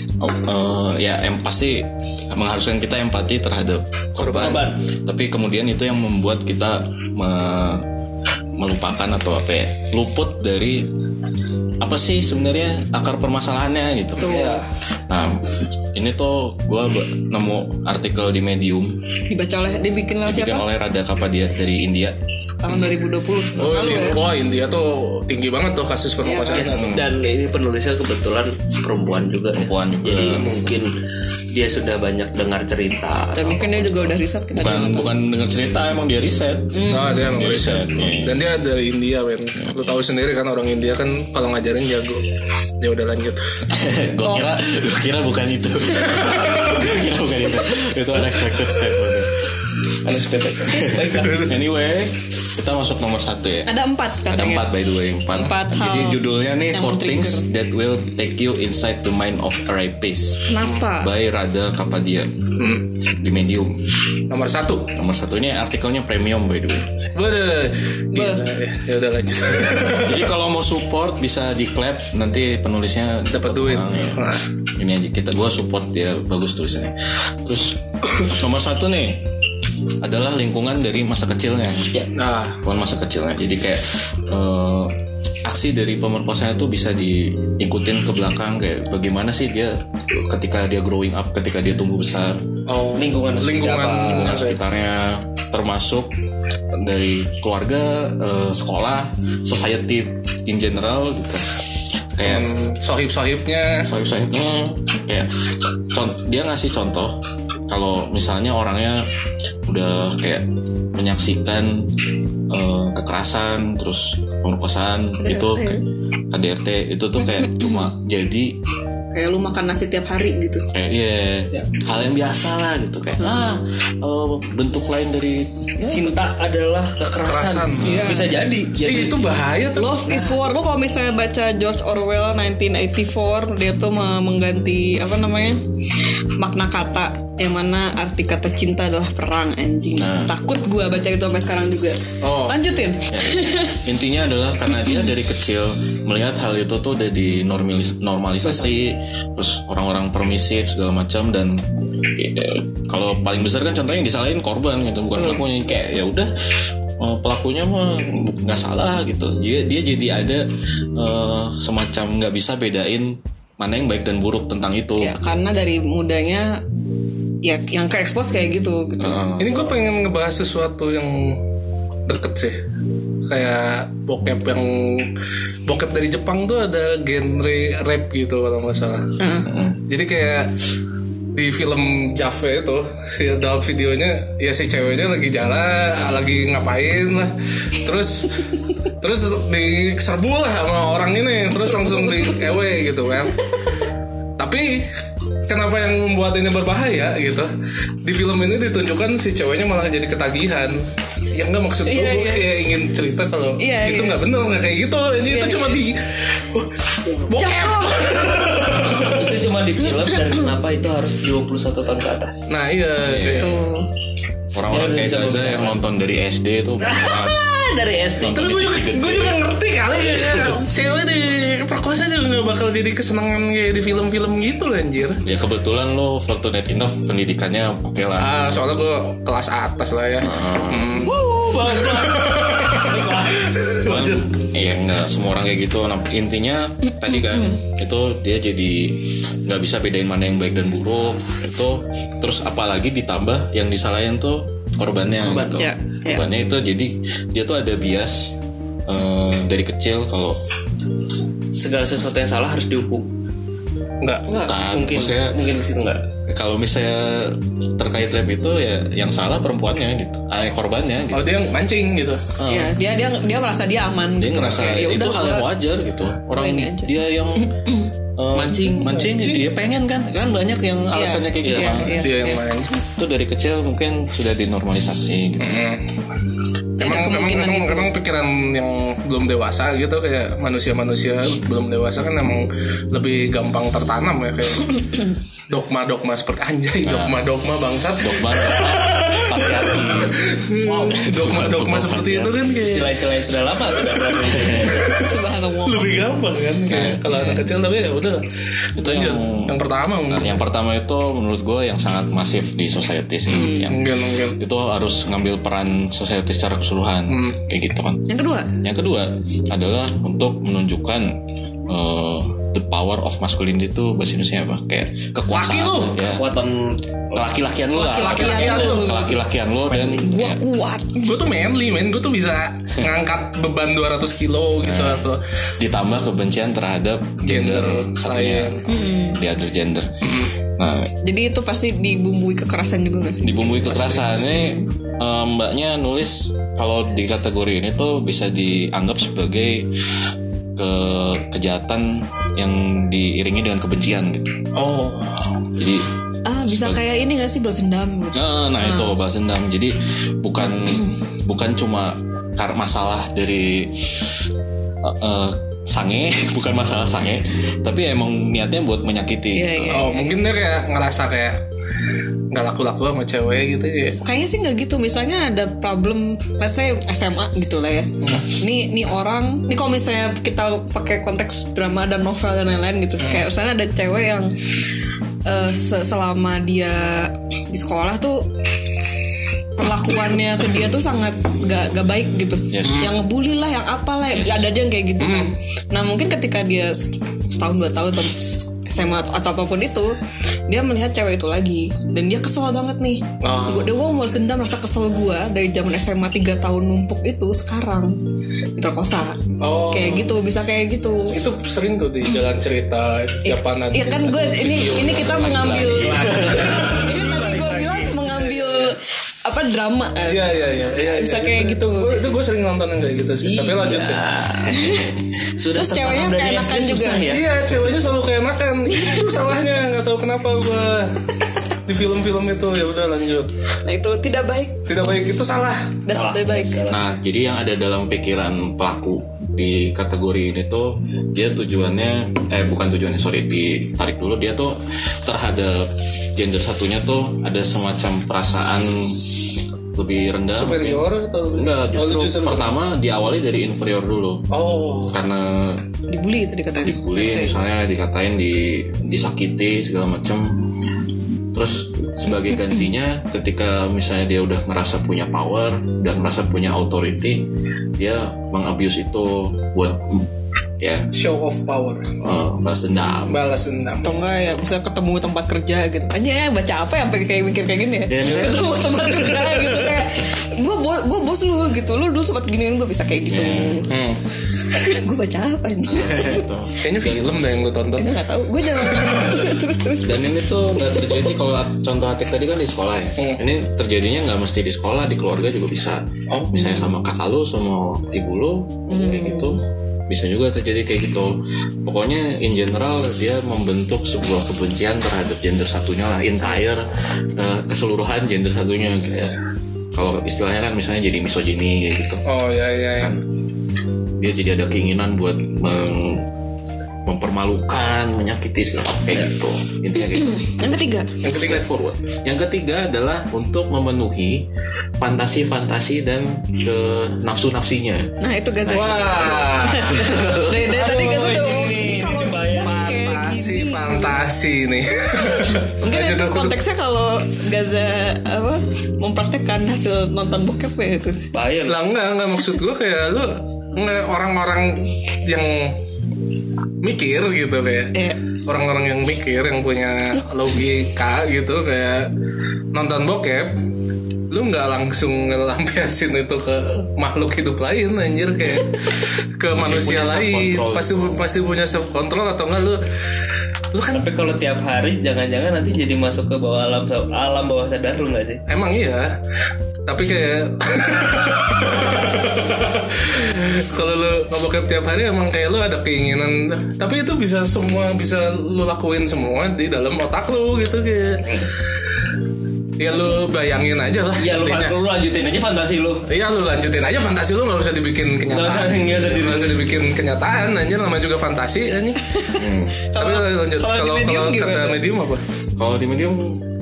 S4: eh, ya em pasti mengharuskan kita empati terhadap korban.
S3: Korban.
S4: tapi kemudian itu yang membuat kita me- melupakan atau apa ya luput dari apa sih sebenarnya akar permasalahannya gitu
S3: Iya.
S4: nah ini tuh gue nemu artikel di medium
S2: dibaca oleh dibikin oleh
S3: Iya.
S4: dibikin
S2: siapa
S4: oleh Radha ya Kapadia dari India
S2: tahun 2020
S1: oh
S2: lalu
S1: India,
S2: ya
S1: wah India tuh tinggi banget tuh kasus pemerkosaan
S3: Yes, dan ini penulisnya kebetulan perempuan juga. ya.
S4: Perempuan juga.
S3: Jadi mungkin dia sudah banyak dengar cerita.
S2: dan mungkin dia juga udah riset kita
S4: bukan bukan dengar cerita emang dia riset
S1: Nah, dia emang
S4: dia
S1: riset.
S4: riset iya.
S1: dan dia dari India men lu tahu sendiri kan orang India kan kalau ngajarin jago ya udah lanjut
S4: gue kira Eh, gua kira bukan itu gue kira bukan itu itu unexpected statement unexpected anyway kita masuk nomor satu ya
S2: ada empat
S4: ada
S2: katanya
S4: empat by the way empat,
S2: Empat hal
S4: jadi judulnya nih
S2: yang
S4: four
S2: men-trigger.
S4: things that will take you inside the mind of a rapist
S2: kenapa
S4: by Radha Kapadia di medium
S1: Hmm. nomor satu
S4: nomor satu ini artikelnya premium by the way
S1: Waduh, gila, ya, ya udah lanjut
S4: Jadi kalau mau support bisa di clap nanti penulisnya
S1: Dapat duit.
S4: uang, ya.
S1: Nah.
S4: Ini aja kita gua support dia bagus tulisannya. Terus nomor satu nih adalah lingkungan dari masa kecilnya.
S1: nah
S4: Lingkungan masa kecilnya. Jadi kayak eh, aksi dari pemerkosanya itu bisa diikutin ke belakang kayak bagaimana sih dia ketika dia growing up, ketika dia tumbuh besar,
S1: oh,
S3: Lingkungan seperti
S1: lingkungan
S3: apa?
S4: lingkungan
S1: apa ya?
S4: sekitarnya termasuk dari keluarga, eh, sekolah, society in general gitu. Kayak
S1: sohib sohibnya
S4: sayap-sayapnya kayak ya, con- dia ngasih contoh kalau misalnya orangnya udah kayak menyaksikan eh, kekerasan terus pemerkosaan itu kayak KDRT itu tuh kayak cuma jadi
S2: kayak lu makan nasi tiap hari gitu
S4: kayak iya hal yang biasa lah gitu kayak ah eh, bentuk lain dari
S3: Cinta adalah
S1: Kekerasan.
S3: kekerasan.
S2: Iya.
S3: Bisa jadi. Jadi
S1: Ih, itu bahaya tuh
S2: Love is War Lu kalau misalnya baca George Orwell 1984 Dia tuh me- mengganti Apa namanya Makna kata Yang mana arti kata cinta adalah perang anjing Takut gua baca itu sampai sekarang juga
S1: Oh.
S2: Lanjutin
S4: intinya adalah karena dia dari kecil melihat hal itu tuh udah dinormalisasi terus orang-orang permisif segala macam dan eh, kalau paling besar kan contohnya yang disalahin korban gitu bukan pelakunya kayak ya udah eh, pelakunya mah nggak salah gitu dia dia jadi ada eh, semacam nggak bisa bedain mana yang baik dan buruk tentang itu
S2: Ya karena dari mudanya Ya yang ke expose kayak gitu, gitu.
S1: Ini gue pengen ngebahas sesuatu yang deket sih Kayak bokep yang Bokep dari Jepang tuh ada genre rap gitu kalau nggak salah Jadi kayak di film Jave itu si dalam videonya ya si ceweknya lagi jalan ah, lagi ngapain lah terus terus diserbu lah sama orang ini terus langsung di ewe gitu kan tapi kenapa yang membuat ini berbahaya gitu di film ini ditunjukkan si ceweknya malah jadi ketagihan yang nggak maksud gue
S2: Iya,
S1: gue
S2: iya.
S1: kayak ingin cerita kalau
S2: Iya,
S1: itu
S2: iya.
S1: nggak bener nggak kayak gitu ini itu
S2: Iya,
S1: cuma di bokep
S2: Jatuh!
S3: Ya, itu cuma di film dan kenapa itu harus 21 tahun ke atas.
S1: Nah iya, cuy.
S2: Tuh.
S4: Orang-orang kayak
S3: Sebelum
S4: Zaza yang nonton dari SD itu
S3: Ah, dari SD.
S1: Tapi gue Ya, juga,
S4: gitu.
S1: gue juga ngerti kali ya. Cewek di perkosa juga gak bakal jadi kesenangan kayak di film-film gitu loh anjir
S4: ya kebetulan lo Fortunate enough pendidikannya oke lah
S1: Ah, soalnya gue kelas atas lah ya Hmm.
S3: Wuh, bangga.
S4: cuman ya nggak semua orang kayak gitu Nah, intinya tadi kan itu dia jadi nggak bisa bedain mana yang baik dan buruk itu terus apalagi ditambah yang disalahin tuh korbannya gitu
S2: ya, ya.
S4: korbannya itu jadi dia tuh ada bias eh, dari kecil kalau
S3: Segala sesuatu yang salah harus dihukum.
S1: Enggak
S4: Bukan, kan,
S3: mungkin
S4: maksudnya
S3: mungkin ke situ enggak.
S4: kalau misalnya terkait lab itu ya yang salah perempuannya gitu, ah, korbannya gitu.
S1: Oh dia yang mancing gitu
S2: Iya, dia dia dia merasa dia aman.
S4: dia
S2: gitu.
S4: ngerasa
S2: Kayak, "Ya
S4: itu
S2: udah,
S4: hal yang
S2: gua-
S4: wajar gitu orang
S2: ini aja."
S4: dia yang eh,
S3: Mancing.
S4: mancing dia pengen kan kan banyak yang alasannya kayak gitu
S2: iya,
S4: kan
S2: iya.
S1: Dia yang mancing
S4: itu dari kecil mungkin sudah dinormalisasi gitu
S1: Hmm. Emang, emang,
S2: kemungkinan
S1: emang, emang pikiran yang belum dewasa gitu kayak manusia-manusia belum dewasa kan emang lebih gampang tertanam ya kayak dogma-dogma seperti anjay dogma-dogma bangsat
S4: dogma dogma, patriarki.
S1: dogma-dogma seperti itu kan kayak
S3: Istilah-istilah yang sudah lama sudah berada di sini.
S2: Gitu, Subhanallah.
S1: lebih gampang kan kayak kalau anak kecil tapi ya udah
S4: itu yang
S1: yang pertama
S4: nah,
S1: mungkin
S4: yang pertama itu menurut gue yang sangat masif di society sih yang
S1: mungkin mungkin
S2: Hmm.
S4: itu harus ngambil peran society secara keseluruhan kayak gitu kan
S2: Yang kedua,
S4: Yang kedua adalah untuk menunjukkan eh, the power of masculinity itu bahasa Indonesia apa? Kayak kekuasaan
S1: Laki lu!
S4: ya.
S3: Kekuatan
S4: Kelaki-lakian lu lah.
S2: Kelaki-lakian lu.
S4: Kelaki-lakian lu dan
S2: gua
S4: ya,
S2: kuat.
S1: gue tuh manly men gue tuh bisa ngangkat beban 200 kilo gitu atau
S4: ditambah kebencian terhadap gender
S1: Gender
S4: satunya di other gender. Nah,
S2: Jadi itu pasti dibumbui kekerasan juga gak sih?
S4: dibumbui kekerasan ini eh, mbaknya nulis kalau di kategori ini tuh bisa dianggap sebagai ke kejahatan yang diiringi dengan kebencian gitu.
S1: oh
S4: Jadi
S2: Ah, bisa kayak ini gak sih balas dendam gitu.
S4: Nah, nah, itu
S1: Hmm.
S4: balas dendam. Jadi bukan bukan cuma karena masalah dari eh, eh, sange, bukan masalah sange, tapi emang niatnya buat menyakiti.
S2: Iya,
S4: gitu.
S2: iya.
S1: oh mungkin dia kayak ngerasa kayak nggak laku-laku sama cewek gitu ya
S2: Kayaknya sih nggak gitu. Misalnya ada problem, let's say SMA gitu lah ya. Nih nih orang, nih kalau misalnya kita pakai konteks drama dan novel dan lain-lain gitu. Kayak misalnya ada cewek yang eh, se- selama dia di sekolah tuh perlakuannya ke dia tuh sangat gak, gak baik gitu.
S4: Yes.
S2: Yang ngebully lah, yang apalah, ada aja yang kayak gitu. kan. Nah mungkin ketika dia se- setahun dua tahun atau SMA atau atau apapun itu, dia melihat cewek itu lagi dan dia kesel banget nih.
S1: Ah.
S2: Gue gue mau balas dendam rasa kesel gue dari zaman SMA 3 tahun numpuk itu sekarang diperkosa.
S1: Oh.
S2: Kayak gitu bisa kayak gitu.
S1: itu sering tuh di jalan cerita Japanan
S2: Iya kan gue ini ini kita mengambil
S1: Iya.
S2: ini tadi gue bilang mengambil apa drama kan.
S1: Iya iya iya iya.
S2: Bisa
S1: iya,
S2: kayak Iya. gitu.
S1: Gua- itu gue sering nonton yang kayak gitu sih. Tapi lanjut sih.
S3: sudah
S2: Terus ceweknya
S3: tertanam dari
S2: keenakan
S3: SD,
S2: juga.
S3: susah ya.
S1: Iya ceweknya selalu kayak makan. Itu salahnya nggak tahu kenapa gue di film-film itu ya udah lanjut.
S2: Nah itu tidak baik
S1: Tidak baik itu salah.
S2: dasar tidak baik.
S4: Nah, jadi yang ada dalam pikiran pelaku di kategori ini tuh dia tujuannya eh bukan tujuannya sorry ditarik dulu dia tuh terhadap gender satunya tuh ada semacam perasaan lebih rendah mungkin.
S1: Superior atau
S4: Enggak, justru,
S1: Oh, justru-
S4: pertama diawali dari inferior dulu.
S1: Oh.
S4: Karena
S2: Dibully tadi katanya.
S1: Iya.
S4: dibully misalnya dikatain di disakiti segala macam. Terus sebagai gantinya ketika misalnya dia udah ngerasa punya power, udah ngerasa punya authority, dia mengabuse itu buat ya
S1: Show of power.
S4: eh, balas dendam.
S1: Balas dendam.
S2: Atau enggak ya bisa ketemu tempat kerja gitu. Anjir baca apa ya sampai kayak mikir kayak gini ya.
S1: Iya,
S4: Dan saya-
S2: Ketemu tempat kerja gitu kayak gue bos gue bos lu gitu lu dulu sempat giniin gue bisa kayak gitu.
S1: Hmm.
S2: gue baca apa ini?
S4: Gitu.
S1: Kayaknya film deh yang lu tonton.
S2: Itu nggak tahu. Gue jangan terus terus.
S4: Dan ini tuh nggak terjadi kalau contoh Atik tadi kan di sekolah ya. Ini terjadinya nggak mesti di sekolah, di keluarga juga bisa. Misalnya sama kakak lu, sama ibu lu, kayak gitu. Bisa juga terjadi kayak gitu. Pokoknya in general dia membentuk sebuah kebencian terhadap gender satunya lah, entire eh, keseluruhan gender satunya gitu. ya. Kalau istilahnya kan misalnya jadi misogini
S1: iya,
S4: kayak gitu
S1: Oh ya ya. ya.
S4: dia jadi ada keinginan buat meng- mempermalukan, menyakiti segala kayak gitu. Intinya kayak gitu.
S2: Yang ketiga,
S1: Yang ketiga forward.
S4: Yang ketiga adalah untuk memenuhi fantasi-fantasi dan ke nafsu-nafsinya.
S2: nah itu Gaza. Nah, Dari, dari tadi Gaza tuh kalau Gaza kayak
S1: Fantasi,
S2: gini.
S1: fantasi nih.
S2: Mungkin
S1: Lanjut
S2: itu
S1: aku.
S2: konteksnya kalau Gaza apa mempraktekkan hasil nonton bokep ya itu.
S3: Bahaya
S1: Lah enggak, enggak maksud gue kayak lu enggak orang-orang yang mikir gitu kayak
S2: Iya.
S1: orang-orang yang mikir yang punya logika gitu kayak nonton bokep lu nggak langsung ngelampiasin itu ke makhluk hidup lain anjir kayak ke manusia
S4: punya
S1: lain
S4: self-control.
S1: pasti pasti punya self control atau enggak lu lu kan
S3: Tapi kalau tiap hari jangan-jangan nanti jadi masuk ke bawah alam alam bawah sadar lu nggak sih?
S1: Emang iya, tapi kayak kalau lu ngebokep tiap hari emang kayak lu ada keinginan, tapi itu bisa semua bisa lu lakuin semua di dalam otak lu gitu kayak. Ya lu bayangin aja lah.
S3: Hmm. Iya lu,
S1: intinya.
S3: lu lanjutin aja fantasi lu.
S1: Iya lu lanjutin aja fantasi lu gak usah dibikin kenyataan.
S3: Nggak usah- nggak usah di-
S1: Nggak usah dibikin kenyataan anjir namanya juga fantasi anjir.
S3: Hmm.
S1: Tapi lanjut kalau
S2: kalau di
S1: kalau
S2: medium
S1: kata
S2: gimana?
S1: medium apa?
S4: Kalau di medium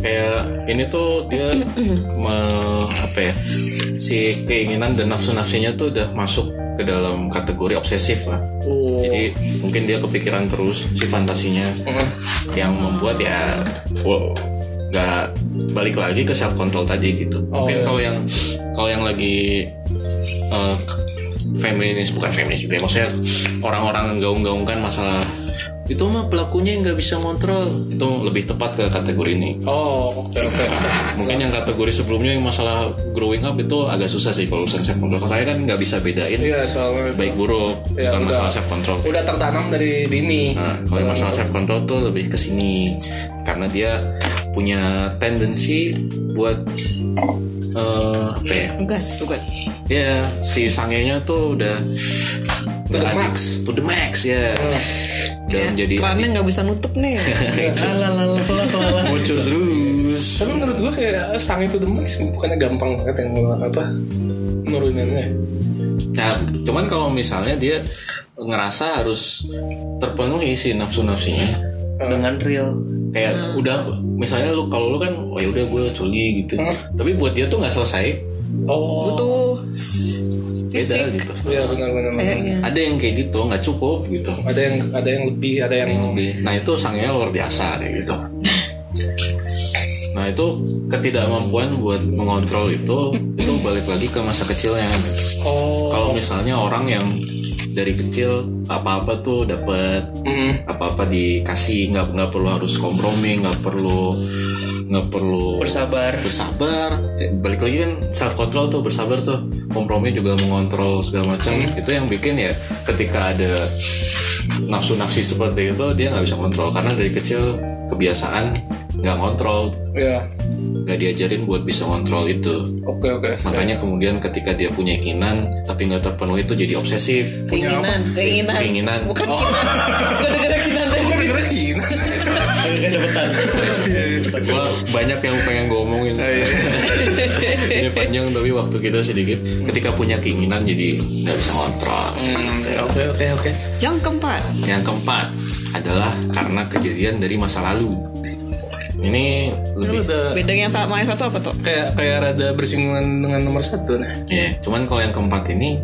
S4: kayak ini tuh dia me- apa ya? Si keinginan dan nafsu-nafsinya tuh udah masuk ke dalam kategori obsesif lah.
S1: Oh.
S4: Jadi mungkin dia kepikiran terus si fantasinya
S1: Mm-hmm.
S4: yang membuat ya wow, nggak balik lagi ke self control tadi gitu.
S1: Oh,
S4: mungkin
S1: iya.
S4: kalau yang kalau yang lagi eh, feminis bukan feminis juga ya, maksudnya orang-orang gaung-gaungkan masalah itu mah pelakunya yang nggak bisa ngontrol itu lebih tepat ke kategori ini.
S1: Oh, oke oke.
S4: Mungkin yang kategori sebelumnya yang masalah growing up itu agak susah sih kalau urusan self control. Kalau Saya kan nggak bisa bedain
S1: Iya, soalnya
S4: baik buruk
S1: Iya,
S4: bukan
S1: udah.
S4: masalah self control.
S1: udah tertanam dari dini.
S4: Nah, kalau yang masalah self control tuh lebih ke sini karena dia punya tendensi buat eh apa ya?
S2: Gas juga.
S4: Ya, si sangenya tuh udah
S1: the
S4: udah
S1: max.
S4: addict to the max ya. Dan jadi
S2: Iya. Kerannya nggak bisa nutup nih.
S4: bocor terus.
S1: Tapi menurut gue kayak eh, sang itu the max bukannya gampang banget yang ngeluar- apa nuruninnya.
S4: Nah, cuman kalau misalnya dia ngerasa harus terpenuhi si nafsu-nafsinya
S3: Dengan real.
S4: kayak udah misalnya lu kalau lu kan oh ya udah gue coli gitu tapi buat dia tuh nggak selesai
S1: Oh,
S2: Butuh
S4: beda
S2: fisik
S4: gitu
S1: iya benar-benar.
S2: kayaknya.
S4: ada yang kayak gitu nggak cukup gitu
S1: Ada yang ada yang lebih, ada yang
S4: Oke. Nah itu sangnya luar biasa kayak gitu. Nah itu ketidakmampuan buat mengontrol itu itu balik lagi ke masa kecilnya.
S1: oh.
S4: Kalau misalnya orang yang dari kecil apa-apa tuh dapat
S1: Mm.
S4: apa-apa dikasih nggak nggak perlu harus kompromi nggak perlu nggak perlu
S3: Bersabar.
S4: bersabar Eh, balik lagi kan self control tuh bersabar tuh kompromi juga mengontrol segala macam itu yang bikin ya ketika ada nafsu nafsi seperti itu dia nggak bisa kontrol karena dari kecil kebiasaan nggak kontrol
S1: Ya,
S4: nggak diajarin buat bisa kontrol itu
S1: oke oke.
S4: makanya kemudian ketika dia punya keinginan tapi nggak terpenuhi itu jadi obsesif
S2: Keinginan, keinginan. Oh.
S4: keinginan
S2: Nah, Bukan kinan. Gara-gara kinan tadi.
S1: Kira-kira gini.
S4: Gua banyak yang pengen gue omongin
S1: Oh, Iya,
S4: ini panjang tapi waktu kita sedikit ketika punya keinginan jadi nggak bisa kontrol
S1: Oke oke oke.
S2: Yang keempat,
S4: yang keempat adalah karena kejadian dari masa lalu ini
S1: Ini
S4: lebih
S1: udah
S2: bedanya yang sama yang satu apa tuh?
S1: kayak kayak rada bersinggungan dengan nomor satu nih.
S4: ya cuman kalau yang keempat ini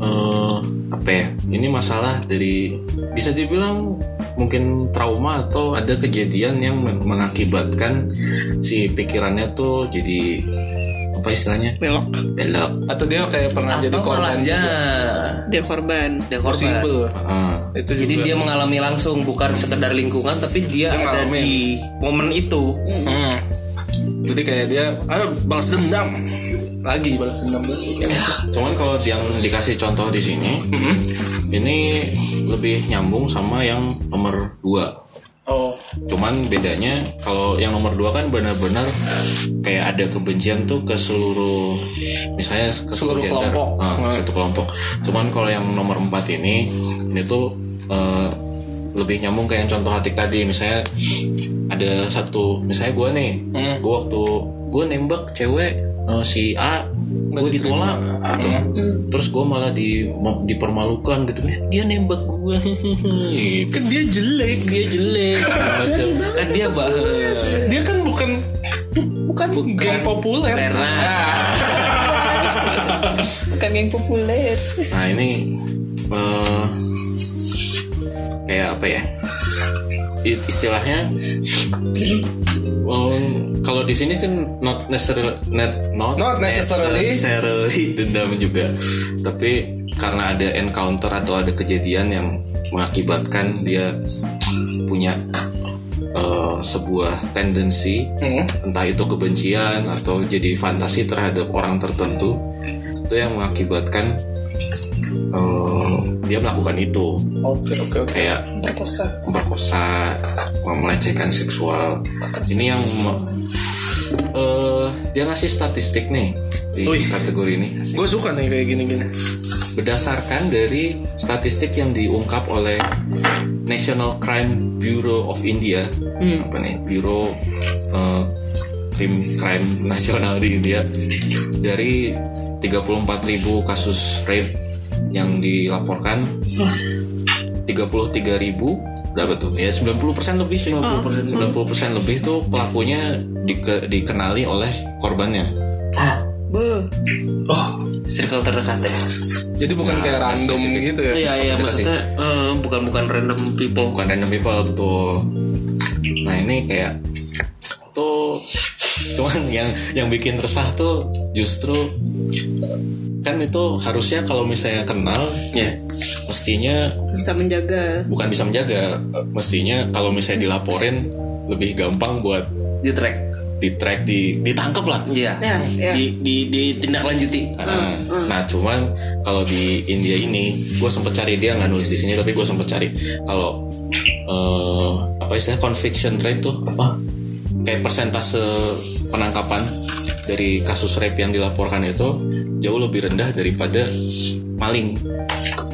S4: eh, apa ya ini masalah dari bisa dibilang mungkin trauma atau ada kejadian yang men- mengakibatkan si pikirannya tuh jadi apa istilahnya
S2: Belok.
S4: belok
S1: Atau dia kayak pernah jadi korban
S3: ya.
S2: Dia korban.
S3: Dia korban.
S1: Possible.
S4: Ah.
S1: Itu juga.
S3: Jadi dia mengalami langsung bukan sekedar lingkungan tapi dia,
S1: Dia
S3: ada
S1: ngalamin.
S3: di momen itu.
S1: Hmm. Jadi kayak dia, ayo balas dendam lagi balas dendam lagi.
S4: Cuman kalau yang dikasih contoh di sini,
S1: Mm-mm.
S4: ini lebih nyambung sama yang nomor 2.
S1: Oh,
S4: Cuman bedanya kalau yang nomor 2 kan benar-benar kayak ada kebencian tuh ke seluruh misalnya ke
S1: Seluruh
S4: gender.
S1: kelompok.
S4: Ah,
S1: Hmm.
S4: satu kelompok. Cuman kalau yang nomor 4 ini ini tuh eh, lebih nyambung kayak yang contoh hatik tadi misalnya ada satu misalnya gue nih
S1: Hmm.
S4: gue waktu gue nembak cewek eh, si A gue ditolak gitu.
S1: Hmm.
S4: terus gue malah di ma- dipermalukan gitu dia nembak gue kan dia jelek dia jelek Macam.
S3: kan dia bahas
S1: Dia kan bukan
S2: bukan
S1: geng populer.
S2: bukan yang populer
S4: nah ini eh, kayak apa ya It- istilahnya em, kalau di sini sih not necessarily not, not
S1: Not necessarily.
S4: necessarily dendam juga tapi karena ada encounter atau ada kejadian yang mengakibatkan dia punya eh, sebuah tendensi
S1: Hmm.
S4: entah itu kebencian atau jadi fantasi terhadap orang tertentu itu yang mengakibatkan eh, dia melakukan itu
S1: Oke oke oke.
S4: kayak
S2: perkosa
S4: memperkosa melecehkan seksual ini yang me- eh, dia ngasih statistik nih di
S1: Wih.
S4: kategori ini
S1: Gue suka nih kayak gini-gini.
S4: berdasarkan dari statistik yang diungkap oleh National Crime Bureau of India apa nih Bureau eh, Crime Crime Nasional di India dari 34.000 kasus rape yang dilaporkan 33.000 berapa tuh ya 90% lebih cuy. 90% lebih tuh pelakunya dike- dikenali oleh korbannya
S2: bu
S3: circle terdekat ya
S1: Jadi bukan
S4: Nah,
S1: kayak random
S4: spesifik.
S1: gitu ya.
S3: iya iya
S4: terdekat
S3: maksudnya eh, bukan bukan random people
S4: bukan random people betul nah ini kayak tuh cuman yang yang bikin resah tuh justru kan itu harusnya kalau misalnya kenal
S3: ya
S4: mestinya
S2: bisa menjaga
S4: bukan bisa menjaga mestinya kalau misalnya dilaporin lebih gampang buat
S3: di track
S4: di track di ditangkap lah
S3: iya
S2: Nah, iya.
S3: di di ditindaklanjuti
S4: Nah, nah cuman kalau di India ini gue sempet cari dia nggak nulis di sini tapi gue sempet cari kalau eh, apa istilahnya conviction rate tuh apa kayak persentase penangkapan dari kasus rape yang dilaporkan itu jauh lebih rendah daripada maling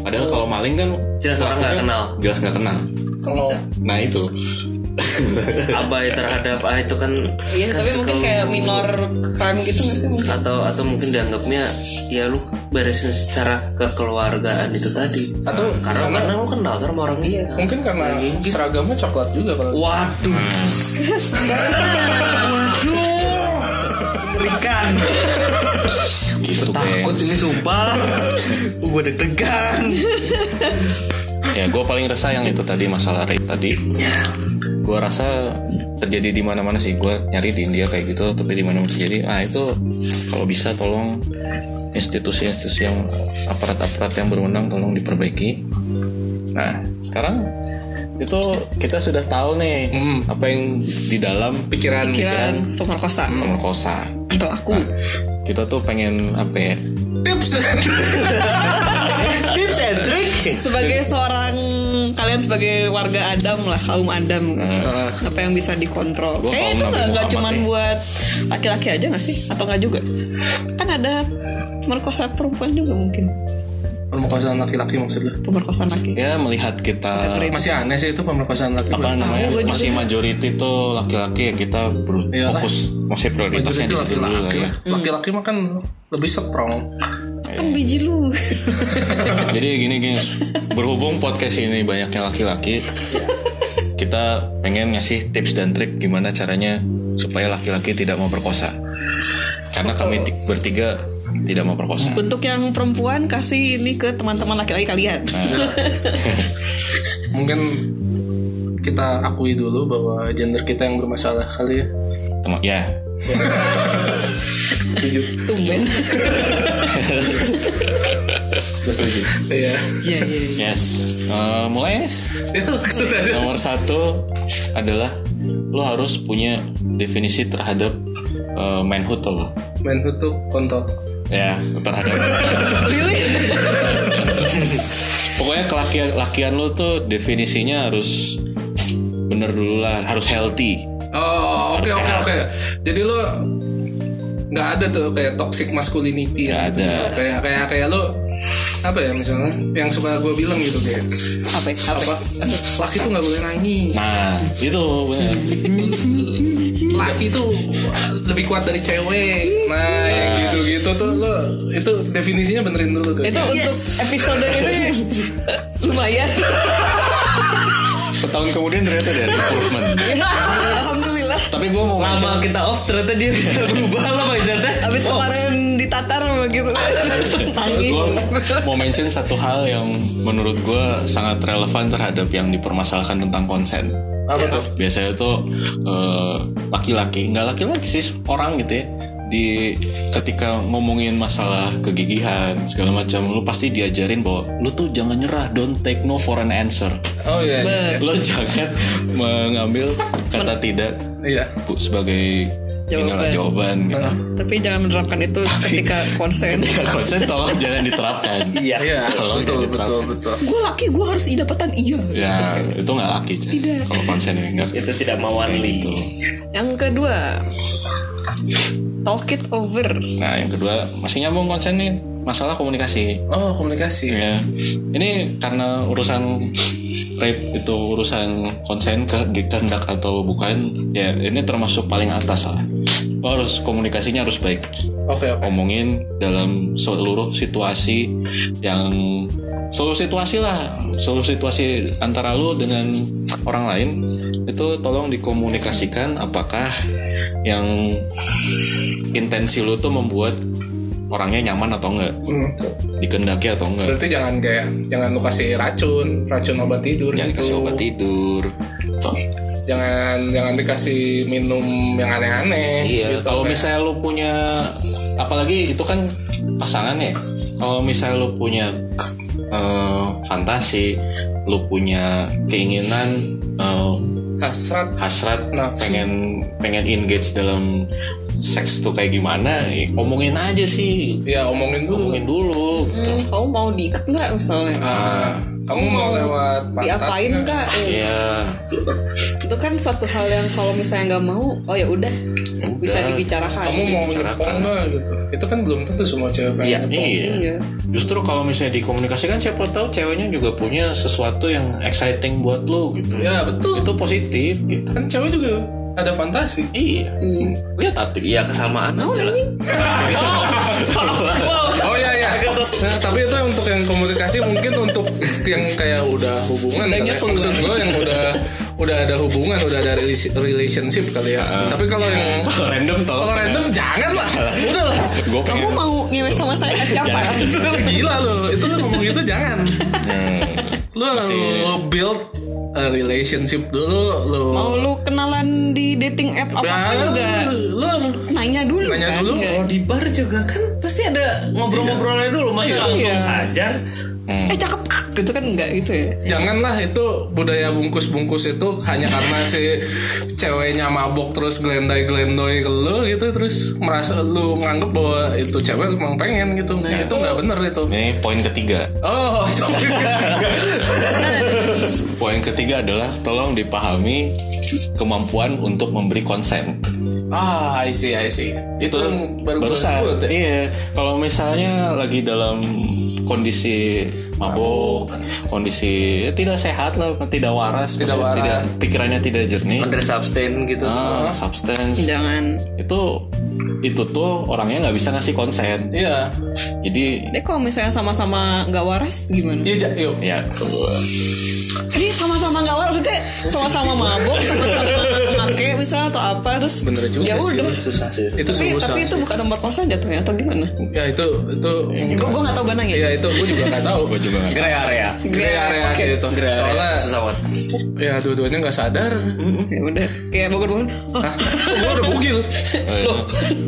S4: padahal kalau maling kan
S3: Jelas orang nggak
S4: pelakunya
S3: kenal.
S4: jelas nggak kenal
S2: kok bisa
S4: nah itu
S3: abai terhadap ah itu kan
S2: Iya,
S3: kan
S2: tapi
S3: circle
S2: mungkin kayak minor crime gitu nggak sih mungkin?
S3: atau atau mungkin dianggapnya ya lu beresin secara kekeluargaan itu tadi
S1: Atau
S3: karena karena lu kenal kan sama orang iya
S1: Mungkin karena seragamnya coklat juga kalau.
S3: waduh
S5: Berikan.
S4: gitu
S5: Takut
S4: Bang.
S5: ini sumpah. Gue deg-degan.
S4: ya gue paling resah yang itu tadi masalah rape tadi gue rasa terjadi di mana-mana sih gue nyari di India kayak gitu tapi di mana-mana terjadi nah itu kalau bisa tolong institusi-institusi yang aparat-aparat yang berwenang tolong diperbaiki nah sekarang itu kita sudah tahu nih
S1: Hmm.
S4: apa yang di dalam
S1: Pikiran.
S2: Pikiran pemerkosaan
S4: pemerkosa
S2: pelaku.
S4: kita tuh pengen apa ya
S1: Tips.
S5: Tips and trick.
S2: Sebagai seorang kalian sebagai warga Adam lah kaum Adam.
S4: Nah.
S2: Apa yang bisa dikontrol?
S4: Gua
S2: Kayaknya
S4: kaum Nabi
S2: itu nggak nggak
S4: Muhammad
S2: cuman
S4: nih.
S2: buat laki-laki aja nggak sih? Atau nggak juga? Kan ada pemerkosa perempuan juga mungkin
S1: Pemerkosaan laki-laki maksud lu?
S2: pemerkosaan laki.
S4: ya melihat kita
S1: Masih aneh sih itu pemerkosaan laki-laki.
S4: apa namanya
S2: gue Iya, juga. Iya,
S4: masih majority tuh laki-laki ya kita ber-
S1: Iyalah.
S4: fokus masih prioritasnya di
S1: Majority
S4: situ dulu lah
S1: laki-laki
S4: ya.
S1: lah. Laki-laki mah kan lebih strong.
S2: Kan biji lu.
S4: Jadi gini guys, berhubung podcast ini banyaknya laki-laki, kita pengen ngasih tips dan trik gimana caranya supaya laki-laki tidak mau perkosa. Karena kami ti- bertiga tidak mau perkosa.
S2: Untuk yang perempuan kasih ini ke teman-teman laki-laki kalian.
S1: Mungkin kita akui dulu bahwa gender kita yang bermasalah kali ya.
S4: Tem- ya,
S2: Tumben.
S1: Iya.
S2: Iya iya. iya.
S4: yes. Eh, mulai nomor satu adalah lo harus punya definisi terhadap eh, manhood lo.
S1: Manhood tuh kontol.
S4: Ya, terhadap.
S2: Really?
S4: Pokoknya kelakian lakian lo tuh definisinya harus bener dulu lah, harus healthy.
S1: Oh oke oke oke. Jadi lo nggak ada tuh kayak toxic masculinity gitu.
S4: Nggak ada.
S1: Kayak kayak kayak lo apa ya misalnya yang suka gue bilang gitu kayak
S2: apa ya? apa
S1: apa eh, laki tuh nggak boleh nangis
S6: Nah, itu bener.
S1: laki tuh lebih kuat dari cewek nah yang gitu gitu tuh lo itu definisinya benerin dulu tuh
S2: itu untuk episode ini lumayan
S4: Setahun kemudian ternyata ada improvement.
S2: alhamdulillah
S4: Tapi gue mau
S3: lama
S4: mention
S3: kita off ternyata dia bisa berubah lama Izarta
S2: abis kemarin ditatar gitu. begitu nangis
S6: Gua-
S4: mau mention satu hal yang menurut gue sangat relevan terhadap yang dipermasalahkan tentang konsen.
S3: apa tuh
S4: Biasanya tuh eh, laki-laki, nggak laki-laki sih orang gitu ya di ketika ngomongin masalah kegigihan segala macam lu pasti diajarin bahwa lu tuh jangan nyerah don't take no for an answer
S1: oh iya iya.
S4: lo jangan mengambil kata tidak
S1: iya
S4: bu sebagai inilah jawaban gitu
S2: tapi jangan menerapkan itu ketika konsen
S4: Ketika konsen tolong jangan diterapkan
S7: Iya.
S1: iya
S4: Kalau gitu.
S1: betul
S4: nggak
S1: betul betul
S2: gue laki gue harus idapatan iya
S4: ya itu nggak laki kalau konsen ya nggak
S3: itu tidak mawan
S4: gitu
S2: yang kedua talk it over
S4: nah yang kedua masih nyambung konsen nih masalah komunikasi
S1: oh komunikasi
S4: ya ini karena urusan rape itu urusan konsen ke dikendak atau bukan ya ini termasuk paling atas lah Lo harus komunikasinya harus baik
S1: oke oke
S4: omongin dalam seluruh situasi yang seluruh situasi lah seluruh situasi antara lu dengan orang lain itu tolong dikomunikasikan apakah yang intensi lu tuh membuat orangnya nyaman atau enggak
S1: Hmm.
S4: dikendaki atau enggak
S1: berarti jangan kayak jangan lu kasih racun racun obat tidur
S4: jangan
S1: gitu
S4: kasih obat tidur Tuh.
S1: jangan jangan dikasih minum yang aneh-aneh
S4: Iya,
S1: gitu,
S4: kalau
S1: kayak-
S4: misalnya lu punya apalagi itu kan pasangan ya. Kalau misalnya lu punya eh, fantasi, lu punya keinginan eh,
S1: hasrat
S4: hasrat
S1: Nafsu.
S4: pengen pengen engage dalam seks tuh kayak gimana, ya, omongin aja sih.
S1: ya omongin dulu
S4: Omongin dulu. gitu.
S2: Hmm, kamu mau diikat nggak misalnya
S1: Ah, kamu mau lewat pantat
S2: diapain
S1: nggak?
S2: nggak Eh,
S4: Iya,
S2: itu kan suatu hal yang kalau misalnya nggak mau oh ya udah bisa
S4: udah.
S2: dibicarakan
S1: kamu mau
S4: Bicarakan.
S1: nyepong nggak gitu itu kan belum tentu semua cewek pengen
S3: Iya,
S1: nyepong.
S4: iya.
S2: iya
S4: Justru kalau misalnya dikomunikasikan siapa tahu ceweknya juga punya sesuatu yang exciting buat lu gitu.
S1: ya betul
S4: Itu positif gitu.
S1: kan cewek juga ada fantasi
S4: Iya.
S1: Ya,
S4: Lihat Atik.
S3: iya kesamaan
S2: mau
S3: aja lah.
S1: Iya.
S2: anjing
S1: oh iya iya nah, tapi itu untuk yang komunikasi mungkin untuk yang kayak udah hubungan kali ya. maksud gue yang udah udah ada hubungan udah ada relasi- relationship kali ya
S4: Iya.
S1: tapi kalau yang
S4: Kalau random tolong.
S1: kalau random jangan lah
S4: Iya.
S1: udah lah
S4: Gue
S2: kamu mau ngewe sama saya siapa
S1: itu kan gila lo itu lo ngomong itu jangan Hmm. lo
S4: Pasti-
S1: lo build a relationship dulu lo
S2: mau Oh, lu kenalan di dating app apa
S1: Ya,
S2: juga
S1: lo
S2: nanya dulu
S1: nanya
S2: kan?
S1: dulu Oh,
S2: Nggak.
S3: kalau di bar juga kan pasti ada ngobrol-ngobrolnya dulu masa langsung hajar
S2: eh cakep gitu kan enggak gitu ya
S1: Janganlah itu budaya bungkus-bungkus itu hanya karena si ceweknya mabok terus glendai-glendoi ke lu gitu terus merasa lu nganggep bahwa itu cewek emang pengen gitu. Nah, itu nggak bener itu.
S4: Ini poin ketiga.
S1: Oh, itu
S4: Poin ketiga adalah tolong dipahami kemampuan untuk memberi konsen.
S1: ah, I see, I see. Itu yang Hmm, baru gua sebut ya?
S4: Iya. Kalau misalnya lagi dalam kondisi mabuk, kondisi ya tidak sehat lah, tidak waras,
S1: iya. Tidak
S4: maksudnya
S1: waras.
S4: pikirannya tidak jernih.
S3: under substain gitu
S4: Ah, substance
S1: Iya.
S2: jangan
S4: itu itu tuh orangnya nggak bisa ngasih konsen.
S1: Iya.
S4: Jadi
S2: deh kalau misalnya sama-sama nggak waras gimana
S1: Iya, ja- yuk.
S4: ya
S2: ini sama-sama nggak waras deh sama-sama
S1: Iya.
S2: mabok sama-sama pakai misalnya atau apa terus
S1: Bener juga
S2: ya
S1: sih.
S2: udah
S3: susah sih
S1: Itu
S2: tapi,
S1: sungguh
S2: tapi
S1: salah
S2: itu
S1: sih.
S2: bukan nomor konsen jatuhnya atau gimana
S1: Ya itu itu
S2: gue gue nggak tahu ganangnya
S1: Iya, itu gua juga nggak tahu.
S4: gue juga nggak
S3: grey area
S1: Grey area sih itu. Soalnya
S3: ya, susah banget
S1: ya dua-duanya nggak sadar.
S4: Hmm.
S2: ya udah kayak bogor-bogor "Oh,
S1: Hah? Kok gua udah bugil.
S4: Loh,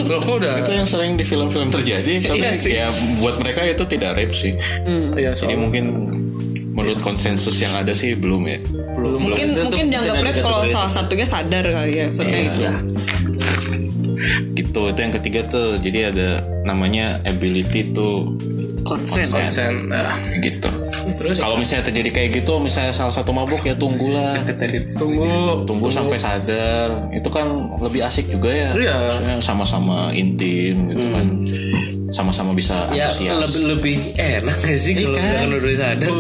S1: Loh, kok udah
S4: itu yang sering di film-film terjadi tapi
S1: Iya sih.
S4: ya buat mereka itu tidak rape sih
S1: Iya,
S4: jadi
S1: soalnya
S4: mungkin menurut konsensus yang ada sih belum ya
S1: belum
S2: mungkin
S3: itu
S2: mungkin
S3: tuh
S2: dianggap
S3: tidak
S2: rap kalau
S3: dikategorikan.
S2: salah satunya sadar kali ya maksudnya
S1: Iya.
S2: gitu.
S4: gitu itu yang ketiga tuh jadi ada namanya ability tuh
S2: konsen
S1: konsen. Ah.
S4: gitu kalau misalnya terjadi kayak gitu misalnya salah satu mabuk ya tunggulah
S1: iya. Tunggu,
S4: tunggu sampai sadar itu kan lebih asik juga ya
S1: Iya.
S4: Maksudnya sama-sama intim gitu kan sama-sama bisa
S3: ya
S4: antusias.
S3: lebih lebih enak gak sih kalau
S4: kan?
S3: jangan udah sadar